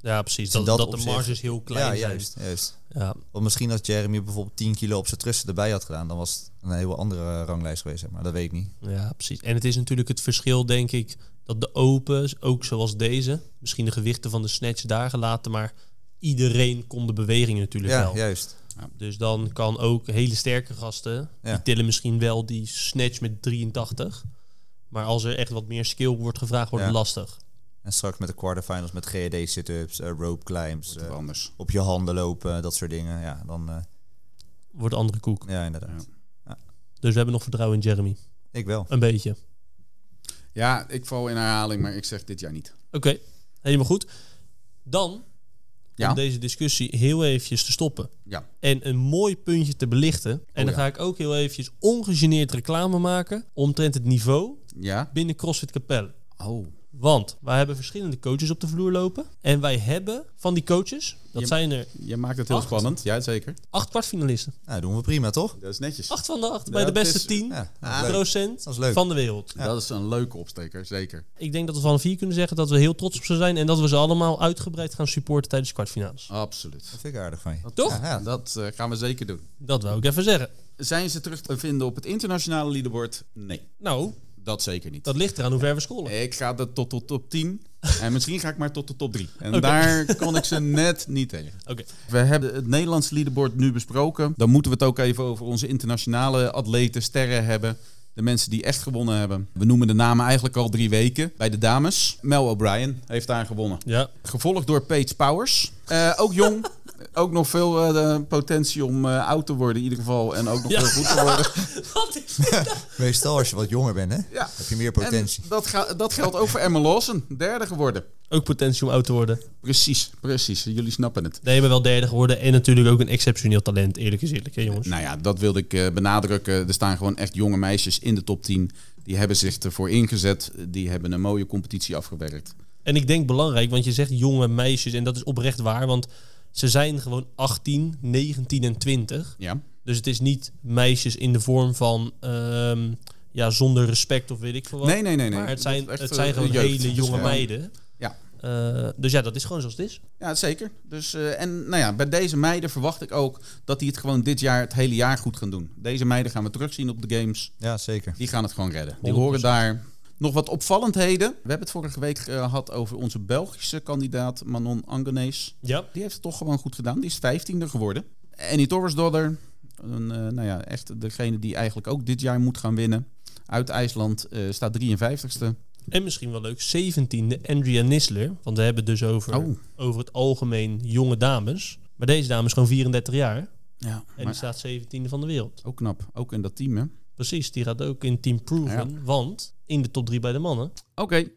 [SPEAKER 5] ja precies.
[SPEAKER 3] Dus in
[SPEAKER 5] Dat,
[SPEAKER 3] dat
[SPEAKER 5] dat, de
[SPEAKER 3] opzicht-
[SPEAKER 5] marges heel klein
[SPEAKER 3] ja,
[SPEAKER 5] zijn.
[SPEAKER 3] juist, juist.
[SPEAKER 5] Ja.
[SPEAKER 3] Want misschien als Jeremy bijvoorbeeld 10 kilo op zijn thruster erbij had gedaan, dan was het een heel andere eh, ranglijst geweest, zeg maar dat weet ik niet.
[SPEAKER 5] ja, precies. En het is natuurlijk het verschil, denk ik, dat de opens, ook zoals deze, misschien de gewichten van de snatch daar gelaten, maar iedereen kon de bewegingen natuurlijk
[SPEAKER 3] Ja,
[SPEAKER 5] wel.
[SPEAKER 3] juist.
[SPEAKER 2] Ja.
[SPEAKER 5] Dus dan kan ook hele sterke gasten,
[SPEAKER 3] Ja.
[SPEAKER 5] die tillen misschien wel die snatch met 83. Maar als er echt wat meer skill wordt gevraagd, wordt
[SPEAKER 3] Ja.
[SPEAKER 5] het lastig.
[SPEAKER 3] En straks met de quarterfinals met GED sit-ups, eh, rope climbs,
[SPEAKER 2] Wat
[SPEAKER 3] eh,
[SPEAKER 2] anders.
[SPEAKER 3] op je handen lopen, dat soort dingen. Ja, dan, eh,
[SPEAKER 5] Wordt een andere koek.
[SPEAKER 3] ja inderdaad.
[SPEAKER 5] Dus we hebben nog vertrouwen in Jeremy.
[SPEAKER 3] Ik wel.
[SPEAKER 5] Een beetje.
[SPEAKER 2] Ja, ik val in herhaling, maar ik zeg dit jaar niet.
[SPEAKER 5] Oké, helemaal goed. Dan,
[SPEAKER 2] Ja?
[SPEAKER 5] om deze discussie heel eventjes te stoppen.
[SPEAKER 2] Ja.
[SPEAKER 5] En een mooi puntje te belichten. En dan
[SPEAKER 2] ja.
[SPEAKER 5] ga ik ook heel eventjes ongegeneerd reclame maken... omtrent het niveau
[SPEAKER 2] Ja?
[SPEAKER 5] binnen CrossFit Capelle.
[SPEAKER 2] Oh.
[SPEAKER 5] Want wij hebben verschillende coaches op de vloer lopen. En wij hebben van die coaches, dat
[SPEAKER 2] Je-
[SPEAKER 5] zijn er
[SPEAKER 2] Je maakt het heel
[SPEAKER 5] Acht.
[SPEAKER 2] spannend. Ja, zeker.
[SPEAKER 5] acht kwartfinalisten.
[SPEAKER 3] Nou, doen we prima, toch?
[SPEAKER 2] Dat is netjes.
[SPEAKER 5] Acht van de acht,
[SPEAKER 2] Ja,
[SPEAKER 5] bij de
[SPEAKER 2] dat
[SPEAKER 5] beste
[SPEAKER 2] is-
[SPEAKER 5] tien Ah.
[SPEAKER 3] Ja, dat is leuk.
[SPEAKER 5] procent
[SPEAKER 3] Dat is leuk.
[SPEAKER 5] van de wereld.
[SPEAKER 2] Dat is een leuke opsteker, zeker.
[SPEAKER 5] Ik denk dat we van vier kunnen zeggen dat we heel trots op ze zijn. En dat we ze allemaal uitgebreid gaan supporten tijdens de kwartfinales.
[SPEAKER 2] Absoluut.
[SPEAKER 3] Dat vind ik aardig van je.
[SPEAKER 5] Toch?
[SPEAKER 3] Ja, ja.
[SPEAKER 2] Dat eh, gaan we zeker doen.
[SPEAKER 5] Dat wou ik even zeggen.
[SPEAKER 2] Zijn ze terug te vinden op het internationale leaderboard? Nee,
[SPEAKER 5] Nou,
[SPEAKER 2] dat zeker niet.
[SPEAKER 5] dat ligt eraan hoe ver we scrollen.
[SPEAKER 2] Ik ga dat tot de top 10 en misschien ga ik maar tot de top 3. En daar kon ik ze net niet tegen.
[SPEAKER 5] Oké.
[SPEAKER 2] We hebben het Nederlands leaderboard nu besproken. Dan moeten we het ook even over onze internationale atleten, sterren hebben. De mensen die echt gewonnen hebben. We noemen de namen eigenlijk al drie weken. Bij de dames, Mel O'Brien heeft daar gewonnen.
[SPEAKER 5] Ja,
[SPEAKER 2] Gevolgd door Paige Powers. Eh, ook jong. Ook nog veel eh, potentie om eh, oud te worden in ieder geval. En ook nog
[SPEAKER 5] Ja.
[SPEAKER 2] heel goed te worden.
[SPEAKER 5] Wat is dit nou?
[SPEAKER 3] Meestal als je wat jonger bent, hè?
[SPEAKER 2] Ja.
[SPEAKER 3] Heb je meer potentie.
[SPEAKER 2] En dat, ga- dat geldt ook voor Emma Lawson. Derde geworden.
[SPEAKER 5] Ook potentie om oud te worden.
[SPEAKER 2] Precies, precies. Jullie snappen het.
[SPEAKER 5] Nee, maar wel derde geworden. En natuurlijk ook een exceptioneel talent. Eerlijk is eerlijk, hè jongens.
[SPEAKER 2] Nou ja, dat wilde ik eh, benadrukken. Er staan gewoon echt jonge meisjes in de top 10. Die hebben zich ervoor ingezet. Die hebben een mooie competitie afgewerkt.
[SPEAKER 5] En ik denk belangrijk, want je zegt jonge meisjes. En dat is oprecht waar, want ze zijn gewoon 18, 19 en 20.
[SPEAKER 2] Ja,
[SPEAKER 5] Dus het is niet meisjes in de vorm van... ehm, ja, zonder respect of weet ik veel wat.
[SPEAKER 2] Nee, nee, nee, nee.
[SPEAKER 5] Maar
[SPEAKER 2] Dat
[SPEAKER 5] het zijn,
[SPEAKER 2] is echt,
[SPEAKER 5] het zijn
[SPEAKER 2] eh,
[SPEAKER 5] gewoon
[SPEAKER 2] jeugd.
[SPEAKER 5] hele
[SPEAKER 2] Dus
[SPEAKER 5] jonge
[SPEAKER 2] gewoon-
[SPEAKER 5] meiden.
[SPEAKER 2] Ja.
[SPEAKER 5] Eh, dus ja, dat is gewoon zoals het is.
[SPEAKER 2] ja zeker. Dus, eh, en nou ja, bij deze meiden verwacht ik ook dat die het gewoon dit jaar, het hele jaar goed gaan doen. Deze meiden gaan we terugzien op de games.
[SPEAKER 3] Ja, zeker.
[SPEAKER 2] Die gaan het gewoon redden. Die
[SPEAKER 5] 100%.
[SPEAKER 2] horen daar. Nog wat opvallendheden. We hebben het vorige week eh, gehad over onze Belgische kandidaat Manon Angenees.
[SPEAKER 5] Ja.
[SPEAKER 2] Die heeft het toch gewoon goed gedaan. Die is vijftiende geworden. Annie Torres Dodder. Een, eh, nou ja, echt degene die eigenlijk ook dit jaar moet gaan winnen. Uit IJsland eh, staat 53ste.
[SPEAKER 5] En misschien wel leuk, 17e, Andrea Nisler. Want we hebben het dus over,
[SPEAKER 2] Oh.
[SPEAKER 5] over het algemeen jonge dames. Maar deze dame is gewoon 34 jaar. En
[SPEAKER 2] Ja,
[SPEAKER 5] die
[SPEAKER 2] maar Oh.
[SPEAKER 5] staat 17e van de wereld.
[SPEAKER 2] ook knap. Ook in dat team, hè? Oké,
[SPEAKER 5] Precies, die gaat ook in Team Proven. Want in de top 3 bij de mannen.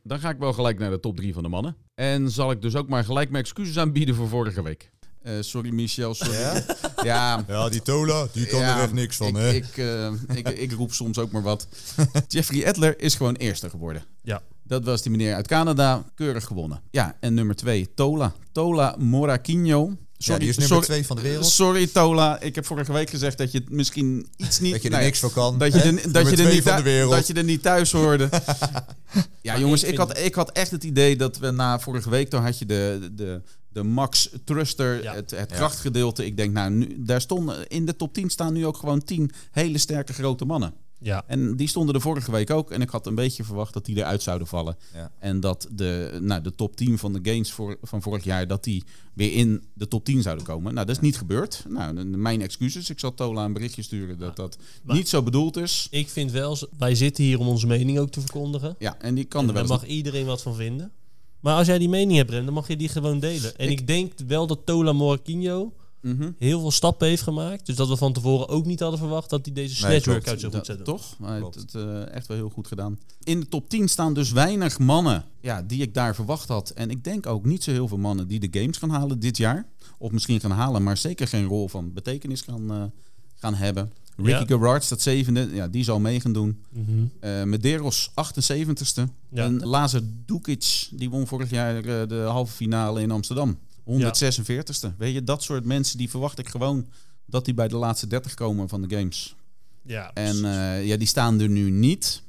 [SPEAKER 2] dan ga ik wel gelijk naar de top drie van de mannen. En zal ik dus ook maar gelijk mijn excuses aanbieden voor vorige week. Eh, sorry, Michel. Sorry.
[SPEAKER 3] Ja?
[SPEAKER 2] ja,
[SPEAKER 3] Ja, die Tola, die
[SPEAKER 2] Ja, ik, Ik, eh, ik, ik roep soms ook maar wat. Jeffrey Edler is gewoon eerste geworden.
[SPEAKER 5] Ja.
[SPEAKER 2] Dat was die meneer uit Canada, keurig gewonnen. Ja, en nummer twee, Tola. Tola Moraquinho. Sorry,
[SPEAKER 3] ja, die is nummer
[SPEAKER 2] sorry,
[SPEAKER 3] twee van de wereld.
[SPEAKER 2] Sorry Tola, ik heb vorige week gezegd dat je het misschien iets niet...
[SPEAKER 3] Dat je er
[SPEAKER 2] nou ja,
[SPEAKER 3] niks voor kan.
[SPEAKER 2] Dat je,
[SPEAKER 3] hè?
[SPEAKER 2] er, dat,
[SPEAKER 3] Nummer
[SPEAKER 2] je er
[SPEAKER 3] twee
[SPEAKER 2] niet
[SPEAKER 3] van de
[SPEAKER 2] thu-
[SPEAKER 3] wereld.
[SPEAKER 2] dat je er niet thuis hoorde. ja, jongens,
[SPEAKER 5] ik
[SPEAKER 2] ik
[SPEAKER 5] vind-
[SPEAKER 2] had, ik had echt het idee dat we na vorige week... toen had je de, de, de Max Truster,
[SPEAKER 5] Ja.
[SPEAKER 2] het, het krachtgedeelte. Ik denk, nou, nu, daar stonden, in de top 10 staan nu ook gewoon 10 hele sterke grote mannen.
[SPEAKER 5] Ja.
[SPEAKER 2] En die stonden er vorige week ook. En ik had een beetje verwacht dat die eruit zouden vallen.
[SPEAKER 3] Ja.
[SPEAKER 2] En dat de, nou, de top 10 van de gains voor, van vorig jaar... dat die weer in de top 10 zouden komen. Nou, dat is niet gebeurd. Nou, n- mijn excuses. Ik zal Tola een berichtje sturen dat dat
[SPEAKER 5] Maar-
[SPEAKER 2] niet zo bedoeld is.
[SPEAKER 5] Ik vind wel, wij zitten hier om onze mening ook te verkondigen.
[SPEAKER 2] Ja, en die kan
[SPEAKER 5] En
[SPEAKER 2] er
[SPEAKER 5] daar
[SPEAKER 2] wel
[SPEAKER 5] mag iedereen wat van vinden. Maar als jij die mening hebt, Rem, dan mag je die gewoon delen. En ik, denk wel dat Tola Moraquinho
[SPEAKER 2] eens- Mhm.
[SPEAKER 5] heel veel stappen heeft gemaakt. Dus dat we van tevoren ook niet hadden verwacht dat hij deze
[SPEAKER 3] Nee,
[SPEAKER 5] snatch
[SPEAKER 3] klopt.
[SPEAKER 5] workout zo
[SPEAKER 2] Dat-
[SPEAKER 5] goed zou doen.
[SPEAKER 2] Toch? Hij heeft
[SPEAKER 3] Klopt.
[SPEAKER 2] het eh, echt wel heel goed gedaan. In de top 10 staan dus weinig mannen ja, die ik daar verwacht had. En ik denk ook niet zo heel veel mannen die de games gaan halen dit jaar. Of misschien gaan halen, maar zeker geen rol van betekenis gaan, eh, gaan hebben. Ricky Gerard staat zevende. Ja, die zal mee gaan doen.
[SPEAKER 5] Mhm.
[SPEAKER 2] Eh, Medeiros 78ste.
[SPEAKER 5] Ja.
[SPEAKER 2] En Lazar Dukic, die won vorig jaar eh, de halve finale in Amsterdam. 146ste. Weet je, dat soort mensen die verwacht ik gewoon dat die bij de laatste 30 komen van de games.
[SPEAKER 5] Ja,
[SPEAKER 2] En
[SPEAKER 5] precies.
[SPEAKER 2] eh, ja, die staan er nu niet.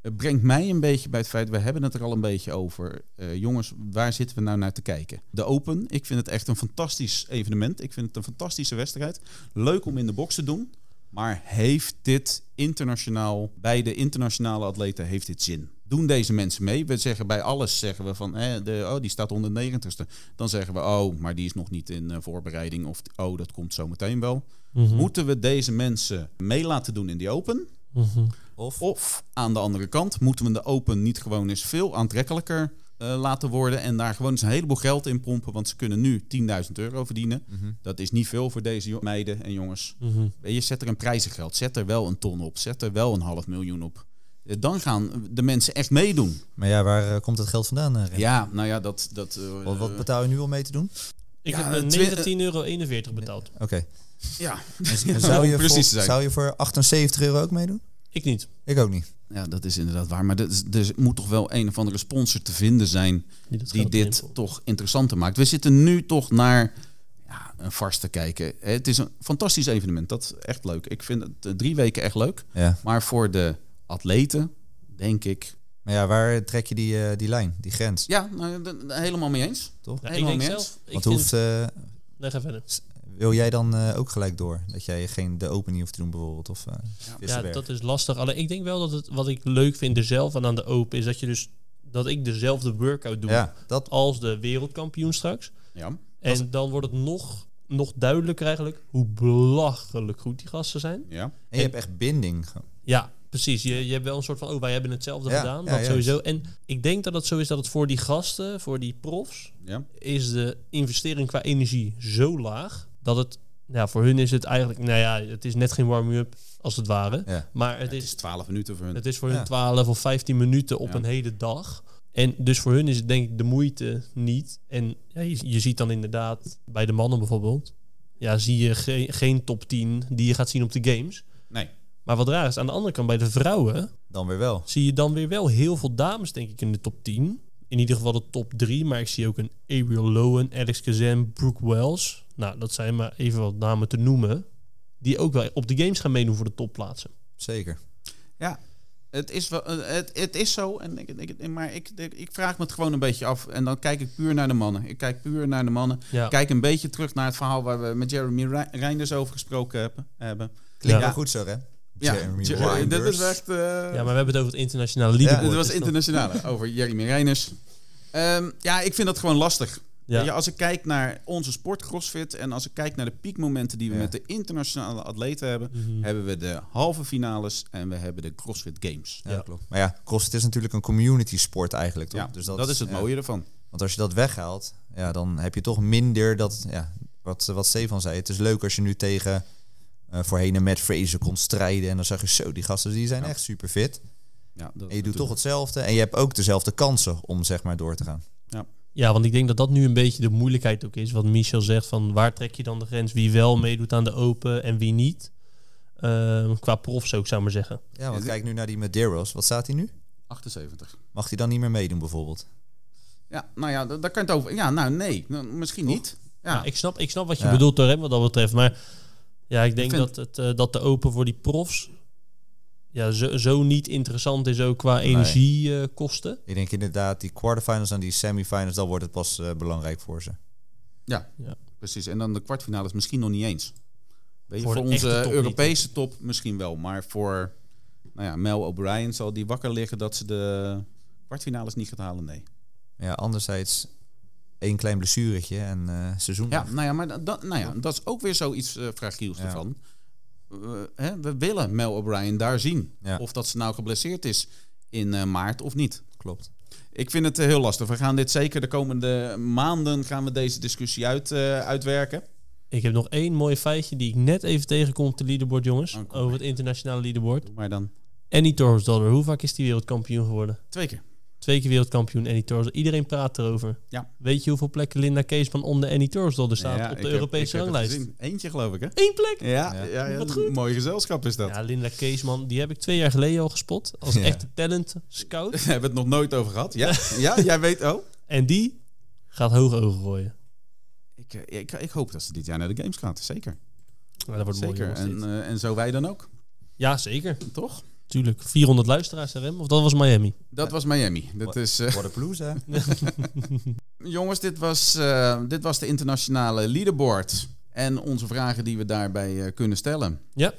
[SPEAKER 2] Het brengt mij een beetje bij het feit, we hebben het er al een beetje over. Eh, jongens, waar zitten we nou naar te kijken? De Open, ik vind het echt een fantastisch evenement. Ik vind het een fantastische wedstrijd. Leuk om in de box te doen. Maar heeft dit internationaal, bij de internationale atleten, heeft dit zin?
[SPEAKER 6] doen deze mensen mee. We zeggen bij alles zeggen we van, hè, de, oh, die staat 190ste. Dan zeggen we, oh, maar die is nog niet in eh, voorbereiding. Of, oh, dat komt zo meteen wel. Moeten we deze mensen mee laten doen in die open?
[SPEAKER 3] Of,
[SPEAKER 6] Of aan de andere kant moeten we de open niet gewoon eens veel aantrekkelijker eh, laten worden en daar gewoon eens een heleboel geld in pompen, want ze kunnen nu 10.000 euro verdienen. Dat is niet veel voor deze jo- meiden en jongens. Weet Je zet er een prijzengeld, zet er wel een ton op, zet er wel een half miljoen op. Eh, Dan gaan de mensen echt meedoen.
[SPEAKER 3] maar ja, waar eh, komt het geld vandaan? eh, Rem?
[SPEAKER 6] Ja, nou ja, dat... dat eh,
[SPEAKER 3] Wat, wat betaal je nu om mee te doen?
[SPEAKER 5] Ik
[SPEAKER 6] Ja,
[SPEAKER 5] heb
[SPEAKER 6] twi-
[SPEAKER 5] 19,41 euro betaald.
[SPEAKER 3] Oké.
[SPEAKER 6] Ja,
[SPEAKER 3] Zou, je
[SPEAKER 6] precies
[SPEAKER 3] voor-
[SPEAKER 6] zijn.
[SPEAKER 3] zou je voor 78 euro ook meedoen?
[SPEAKER 5] Ik niet.
[SPEAKER 3] Ik ook niet.
[SPEAKER 6] Ja, dat is inderdaad waar. Maar dat is- er moet toch wel een of andere sponsor te vinden zijn
[SPEAKER 5] Die dat
[SPEAKER 6] die
[SPEAKER 5] geld
[SPEAKER 6] dit
[SPEAKER 5] inpompt.
[SPEAKER 6] toch interessanter maakt. We zitten nu toch naar ja, een vast te kijken. Hè, Het is een fantastisch evenement. Dat is echt leuk. Ik vind het eh, drie weken echt leuk.
[SPEAKER 3] Ja.
[SPEAKER 6] Maar voor de atleten, denk ik.
[SPEAKER 3] Maar ja, waar trek je die, eh, die lijn, die grens?
[SPEAKER 6] Ja, nou, d- d- helemaal mee eens.
[SPEAKER 3] Toch?
[SPEAKER 5] Ja, ik
[SPEAKER 6] Helemaal
[SPEAKER 5] denk
[SPEAKER 6] mee eens.
[SPEAKER 5] zelf... Ik
[SPEAKER 3] Want
[SPEAKER 5] vind-
[SPEAKER 3] hoeft, eh,
[SPEAKER 5] Nee, ga verder.
[SPEAKER 3] wil jij dan eh, ook gelijk door? Dat jij geen de open niet hoeft te doen bijvoorbeeld? Of, eh
[SPEAKER 5] Ja,
[SPEAKER 3] Vissenberg?
[SPEAKER 5] dat is lastig. Alleen ik denk wel dat het wat ik leuk vind er zelf aan aan de open is dat je dus dat ik dezelfde workout doe
[SPEAKER 3] ja, dat
[SPEAKER 5] als de wereldkampioen straks.
[SPEAKER 6] Ja.
[SPEAKER 5] En dan wordt het nog, nog duidelijker eigenlijk hoe belachelijk goed die gasten zijn.
[SPEAKER 6] ja.
[SPEAKER 3] En je hebt echt binding. gewoon.
[SPEAKER 5] Ja, precies. Je, je hebt wel een soort van, oh, wij hebben hetzelfde
[SPEAKER 3] Ja,
[SPEAKER 5] gedaan.
[SPEAKER 3] ja,
[SPEAKER 5] dat
[SPEAKER 3] juist.
[SPEAKER 5] sowieso. En ik denk dat het zo is dat het voor die gasten, voor die profs,
[SPEAKER 6] ja.
[SPEAKER 5] is de investering qua energie zo laag dat het, nou, voor hun is het eigenlijk, nou ja, het is net geen warming-up als het ware.
[SPEAKER 3] Ja.
[SPEAKER 5] Maar het
[SPEAKER 6] Het
[SPEAKER 5] is
[SPEAKER 6] is 12 minuten voor hun.
[SPEAKER 5] Het is voor
[SPEAKER 3] Ja.
[SPEAKER 5] hun 12 of 15 minuten op
[SPEAKER 6] Ja.
[SPEAKER 5] een hele dag. En dus voor hun is het denk ik de moeite niet. En ja, je, je ziet dan inderdaad bij de mannen bijvoorbeeld. Ja, zie je ge- geen top 10 die je gaat zien op de games.
[SPEAKER 6] Nee.
[SPEAKER 5] Maar wat raar is, aan de andere kant bij de vrouwen
[SPEAKER 3] Dan weer wel.
[SPEAKER 5] zie je dan weer wel heel veel dames denk ik in de top 10. In ieder geval de top 3. Maar ik zie ook een Ariel Lowen, Alex Kazem, Brooke Wells. Nou, dat zijn maar even wat namen te noemen. Die ook wel op de games gaan meedoen voor de topplaatsen.
[SPEAKER 3] Zeker.
[SPEAKER 6] Ja, het is, wel, eh, het, het is zo. En ik, ik, maar ik, ik vraag me het gewoon een beetje af. En dan kijk ik puur naar de mannen. Ik kijk puur naar de mannen.
[SPEAKER 5] Ja.
[SPEAKER 6] Kijk een beetje terug naar het verhaal waar we met Jeremy Re- Reinders over gesproken hebben. hebben.
[SPEAKER 3] Klinkt
[SPEAKER 5] Ja.
[SPEAKER 3] wel goed zo, hè? Jeremy
[SPEAKER 6] Ja, Je-
[SPEAKER 3] Reinders.
[SPEAKER 6] dat is echt... eh,
[SPEAKER 5] Ja, maar we hebben het over het internationale
[SPEAKER 6] ja,
[SPEAKER 5] leaderboard.
[SPEAKER 6] het was
[SPEAKER 5] dus dan-
[SPEAKER 6] internationale over Jeremy Reinders. Ehm, ja, ik vind dat gewoon lastig.
[SPEAKER 5] Ja.
[SPEAKER 6] Ja, als ik kijk naar onze sport CrossFit en als ik kijk naar de piekmomenten die we
[SPEAKER 3] Ja.
[SPEAKER 6] met de internationale atleten hebben, hebben we de halve finales en we hebben de CrossFit Games.
[SPEAKER 3] Ja, klopt. Maar ja, CrossFit is natuurlijk een community sport eigenlijk, toch?
[SPEAKER 6] Ja, dus dat, is het
[SPEAKER 3] ja.
[SPEAKER 6] mooie ervan.
[SPEAKER 3] Want als je dat weghaalt, ja, dan heb je toch minder dat... Ja, wat, wat Stefan zei, het is leuk als je nu tegen eh, voorheen een Matt Fraser kon strijden. En dan zag je, zo, die gasten die zijn echt super fit.
[SPEAKER 6] Ja, dat
[SPEAKER 3] En je doet toch hetzelfde. En je hebt ook dezelfde kansen om zeg maar door te gaan.
[SPEAKER 5] Ja, want ik denk dat dat nu een beetje de moeilijkheid ook is. Wat Michel zegt, van waar trek je dan de grens? Wie wel meedoet aan de open en wie niet? Ehm, qua prof zou ik zou maar zeggen.
[SPEAKER 3] Ja, want kijk nu naar die Medeiros. Wat staat hij nu?
[SPEAKER 6] 78.
[SPEAKER 3] Mag hij dan niet meer meedoen bijvoorbeeld?
[SPEAKER 6] Ja, nou ja, da- daar kan je het over. Ja, nou nee, Nou, misschien niet. Ja,
[SPEAKER 5] Nou, ik, snap, ik snap wat je
[SPEAKER 3] Ja.
[SPEAKER 5] bedoelt door hem wat dat betreft. Maar ja, ik denk
[SPEAKER 6] vind-
[SPEAKER 5] dat, het, eh, dat de open voor die profs ja, zo, zo niet interessant is ook qua eh, energiekosten.
[SPEAKER 3] Ik denk inderdaad, die quarterfinals en die semifinals, dan wordt het pas eh, belangrijk voor ze.
[SPEAKER 6] ja,
[SPEAKER 5] Ja.
[SPEAKER 6] precies. En dan de kwartfinales misschien nog niet eens. Weet je,
[SPEAKER 5] Voor
[SPEAKER 6] voor
[SPEAKER 5] de
[SPEAKER 6] onze
[SPEAKER 5] echte top
[SPEAKER 6] Europese top misschien wel, maar voor nou ja, Mel O'Brien zal die wakker liggen dat ze de kwartfinales niet gaat halen, nee.
[SPEAKER 3] Ja, anderzijds één klein blessuretje en eh seizoen.
[SPEAKER 6] Ja, nou ja, maar da- dat, nou ja, dat is ook weer zoiets eh fragiels
[SPEAKER 3] Ja.
[SPEAKER 6] ervan. Eh, hè, we willen Mel O'Brien daar zien.
[SPEAKER 3] Ja.
[SPEAKER 6] Of dat ze nou geblesseerd is in eh, maart of niet.
[SPEAKER 3] Klopt.
[SPEAKER 6] Ik vind het eh, heel lastig. We gaan dit zeker de komende maanden gaan we deze discussie uit, eh, uitwerken.
[SPEAKER 5] Ik heb nog één mooi feitje die ik net even tegenkom op de leaderboard, jongens.
[SPEAKER 6] Oh, kom
[SPEAKER 5] over het internationale leaderboard.
[SPEAKER 6] Maar dan
[SPEAKER 5] Annie Torres Dollar, hoe vaak is die wereldkampioen geworden?
[SPEAKER 6] twee keer.
[SPEAKER 5] Twee keer wereldkampioen Annie Torres. Iedereen praat erover.
[SPEAKER 6] Ja.
[SPEAKER 5] Weet je hoeveel plekken Linda Keesman onder Annie Torres er staat
[SPEAKER 6] Ja,
[SPEAKER 5] op
[SPEAKER 6] ik
[SPEAKER 5] de
[SPEAKER 6] heb- ik
[SPEAKER 5] Europese
[SPEAKER 6] heb het
[SPEAKER 5] ranglijst?
[SPEAKER 6] gezien. Eentje geloof ik, hè?
[SPEAKER 5] Eén plek!
[SPEAKER 6] Ja, ja. ja,
[SPEAKER 5] Wat goed.
[SPEAKER 6] Mooi gezelschap is dat.
[SPEAKER 5] Ja, Linda Keesman, die heb ik twee jaar geleden al gespot. Als
[SPEAKER 3] Ja.
[SPEAKER 5] echte talent scout.
[SPEAKER 6] We hebben het nog nooit over gehad. Ja, ja jij weet oh.
[SPEAKER 5] en die gaat hoge ogen gooien.
[SPEAKER 6] Ik, eh, ik, ik hoop dat ze dit jaar naar de Games gaat. Zeker.
[SPEAKER 5] Nou, dat wordt
[SPEAKER 6] zeker.
[SPEAKER 5] mooi.
[SPEAKER 6] En,
[SPEAKER 5] jongens, dit.
[SPEAKER 6] eh, en zo wij dan ook.
[SPEAKER 5] ja, zeker.
[SPEAKER 6] Toch?
[SPEAKER 5] Tuurlijk. 400 luisteraars RM. Of dat was Miami.
[SPEAKER 6] Dat was Miami. Dat
[SPEAKER 3] Wat-
[SPEAKER 6] is, eh,
[SPEAKER 3] What a blues, hè?
[SPEAKER 6] jongens, dit was, eh, dit was de internationale leaderboard. En onze vragen die we daarbij eh, kunnen stellen.
[SPEAKER 5] Ja.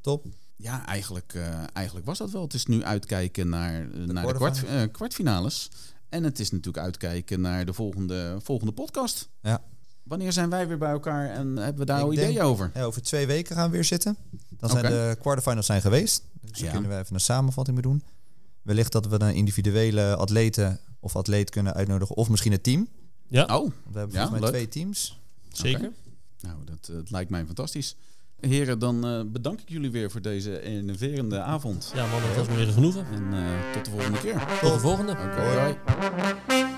[SPEAKER 3] Top.
[SPEAKER 6] ja, eigenlijk, eh, eigenlijk was dat wel. Het is nu uitkijken naar, naar de kwart,
[SPEAKER 3] quarterfinals.
[SPEAKER 6] eh, kwartfinales. En het is natuurlijk uitkijken naar de volgende, volgende podcast.
[SPEAKER 3] Ja.
[SPEAKER 6] Wanneer zijn wij weer bij elkaar en hebben we daar
[SPEAKER 3] Ik
[SPEAKER 6] al
[SPEAKER 3] denk-
[SPEAKER 6] ideeën Nou, over?
[SPEAKER 3] Ja, over twee weken gaan we weer zitten. Dan zijn
[SPEAKER 6] Oké.
[SPEAKER 3] de quarterfinals zijn geweest. Dus dan
[SPEAKER 6] Ja.
[SPEAKER 3] kunnen we even een samenvatting mee doen. Wellicht dat we een individuele atleten of atleet kunnen uitnodigen. Of misschien het team.
[SPEAKER 6] Oh,
[SPEAKER 3] We hebben
[SPEAKER 6] Ja,
[SPEAKER 3] volgens mij
[SPEAKER 6] leuk.
[SPEAKER 3] twee teams.
[SPEAKER 5] Zeker.
[SPEAKER 6] nou, dat, eh, dat lijkt mij fantastisch. Heren, dan eh, bedank ik jullie weer voor deze enerverende avond.
[SPEAKER 5] Ja, man, dat was me weer een genoegen.
[SPEAKER 6] En eh, tot de volgende keer.
[SPEAKER 5] Tot de volgende.
[SPEAKER 6] Oké, hoi.
[SPEAKER 3] Hoi.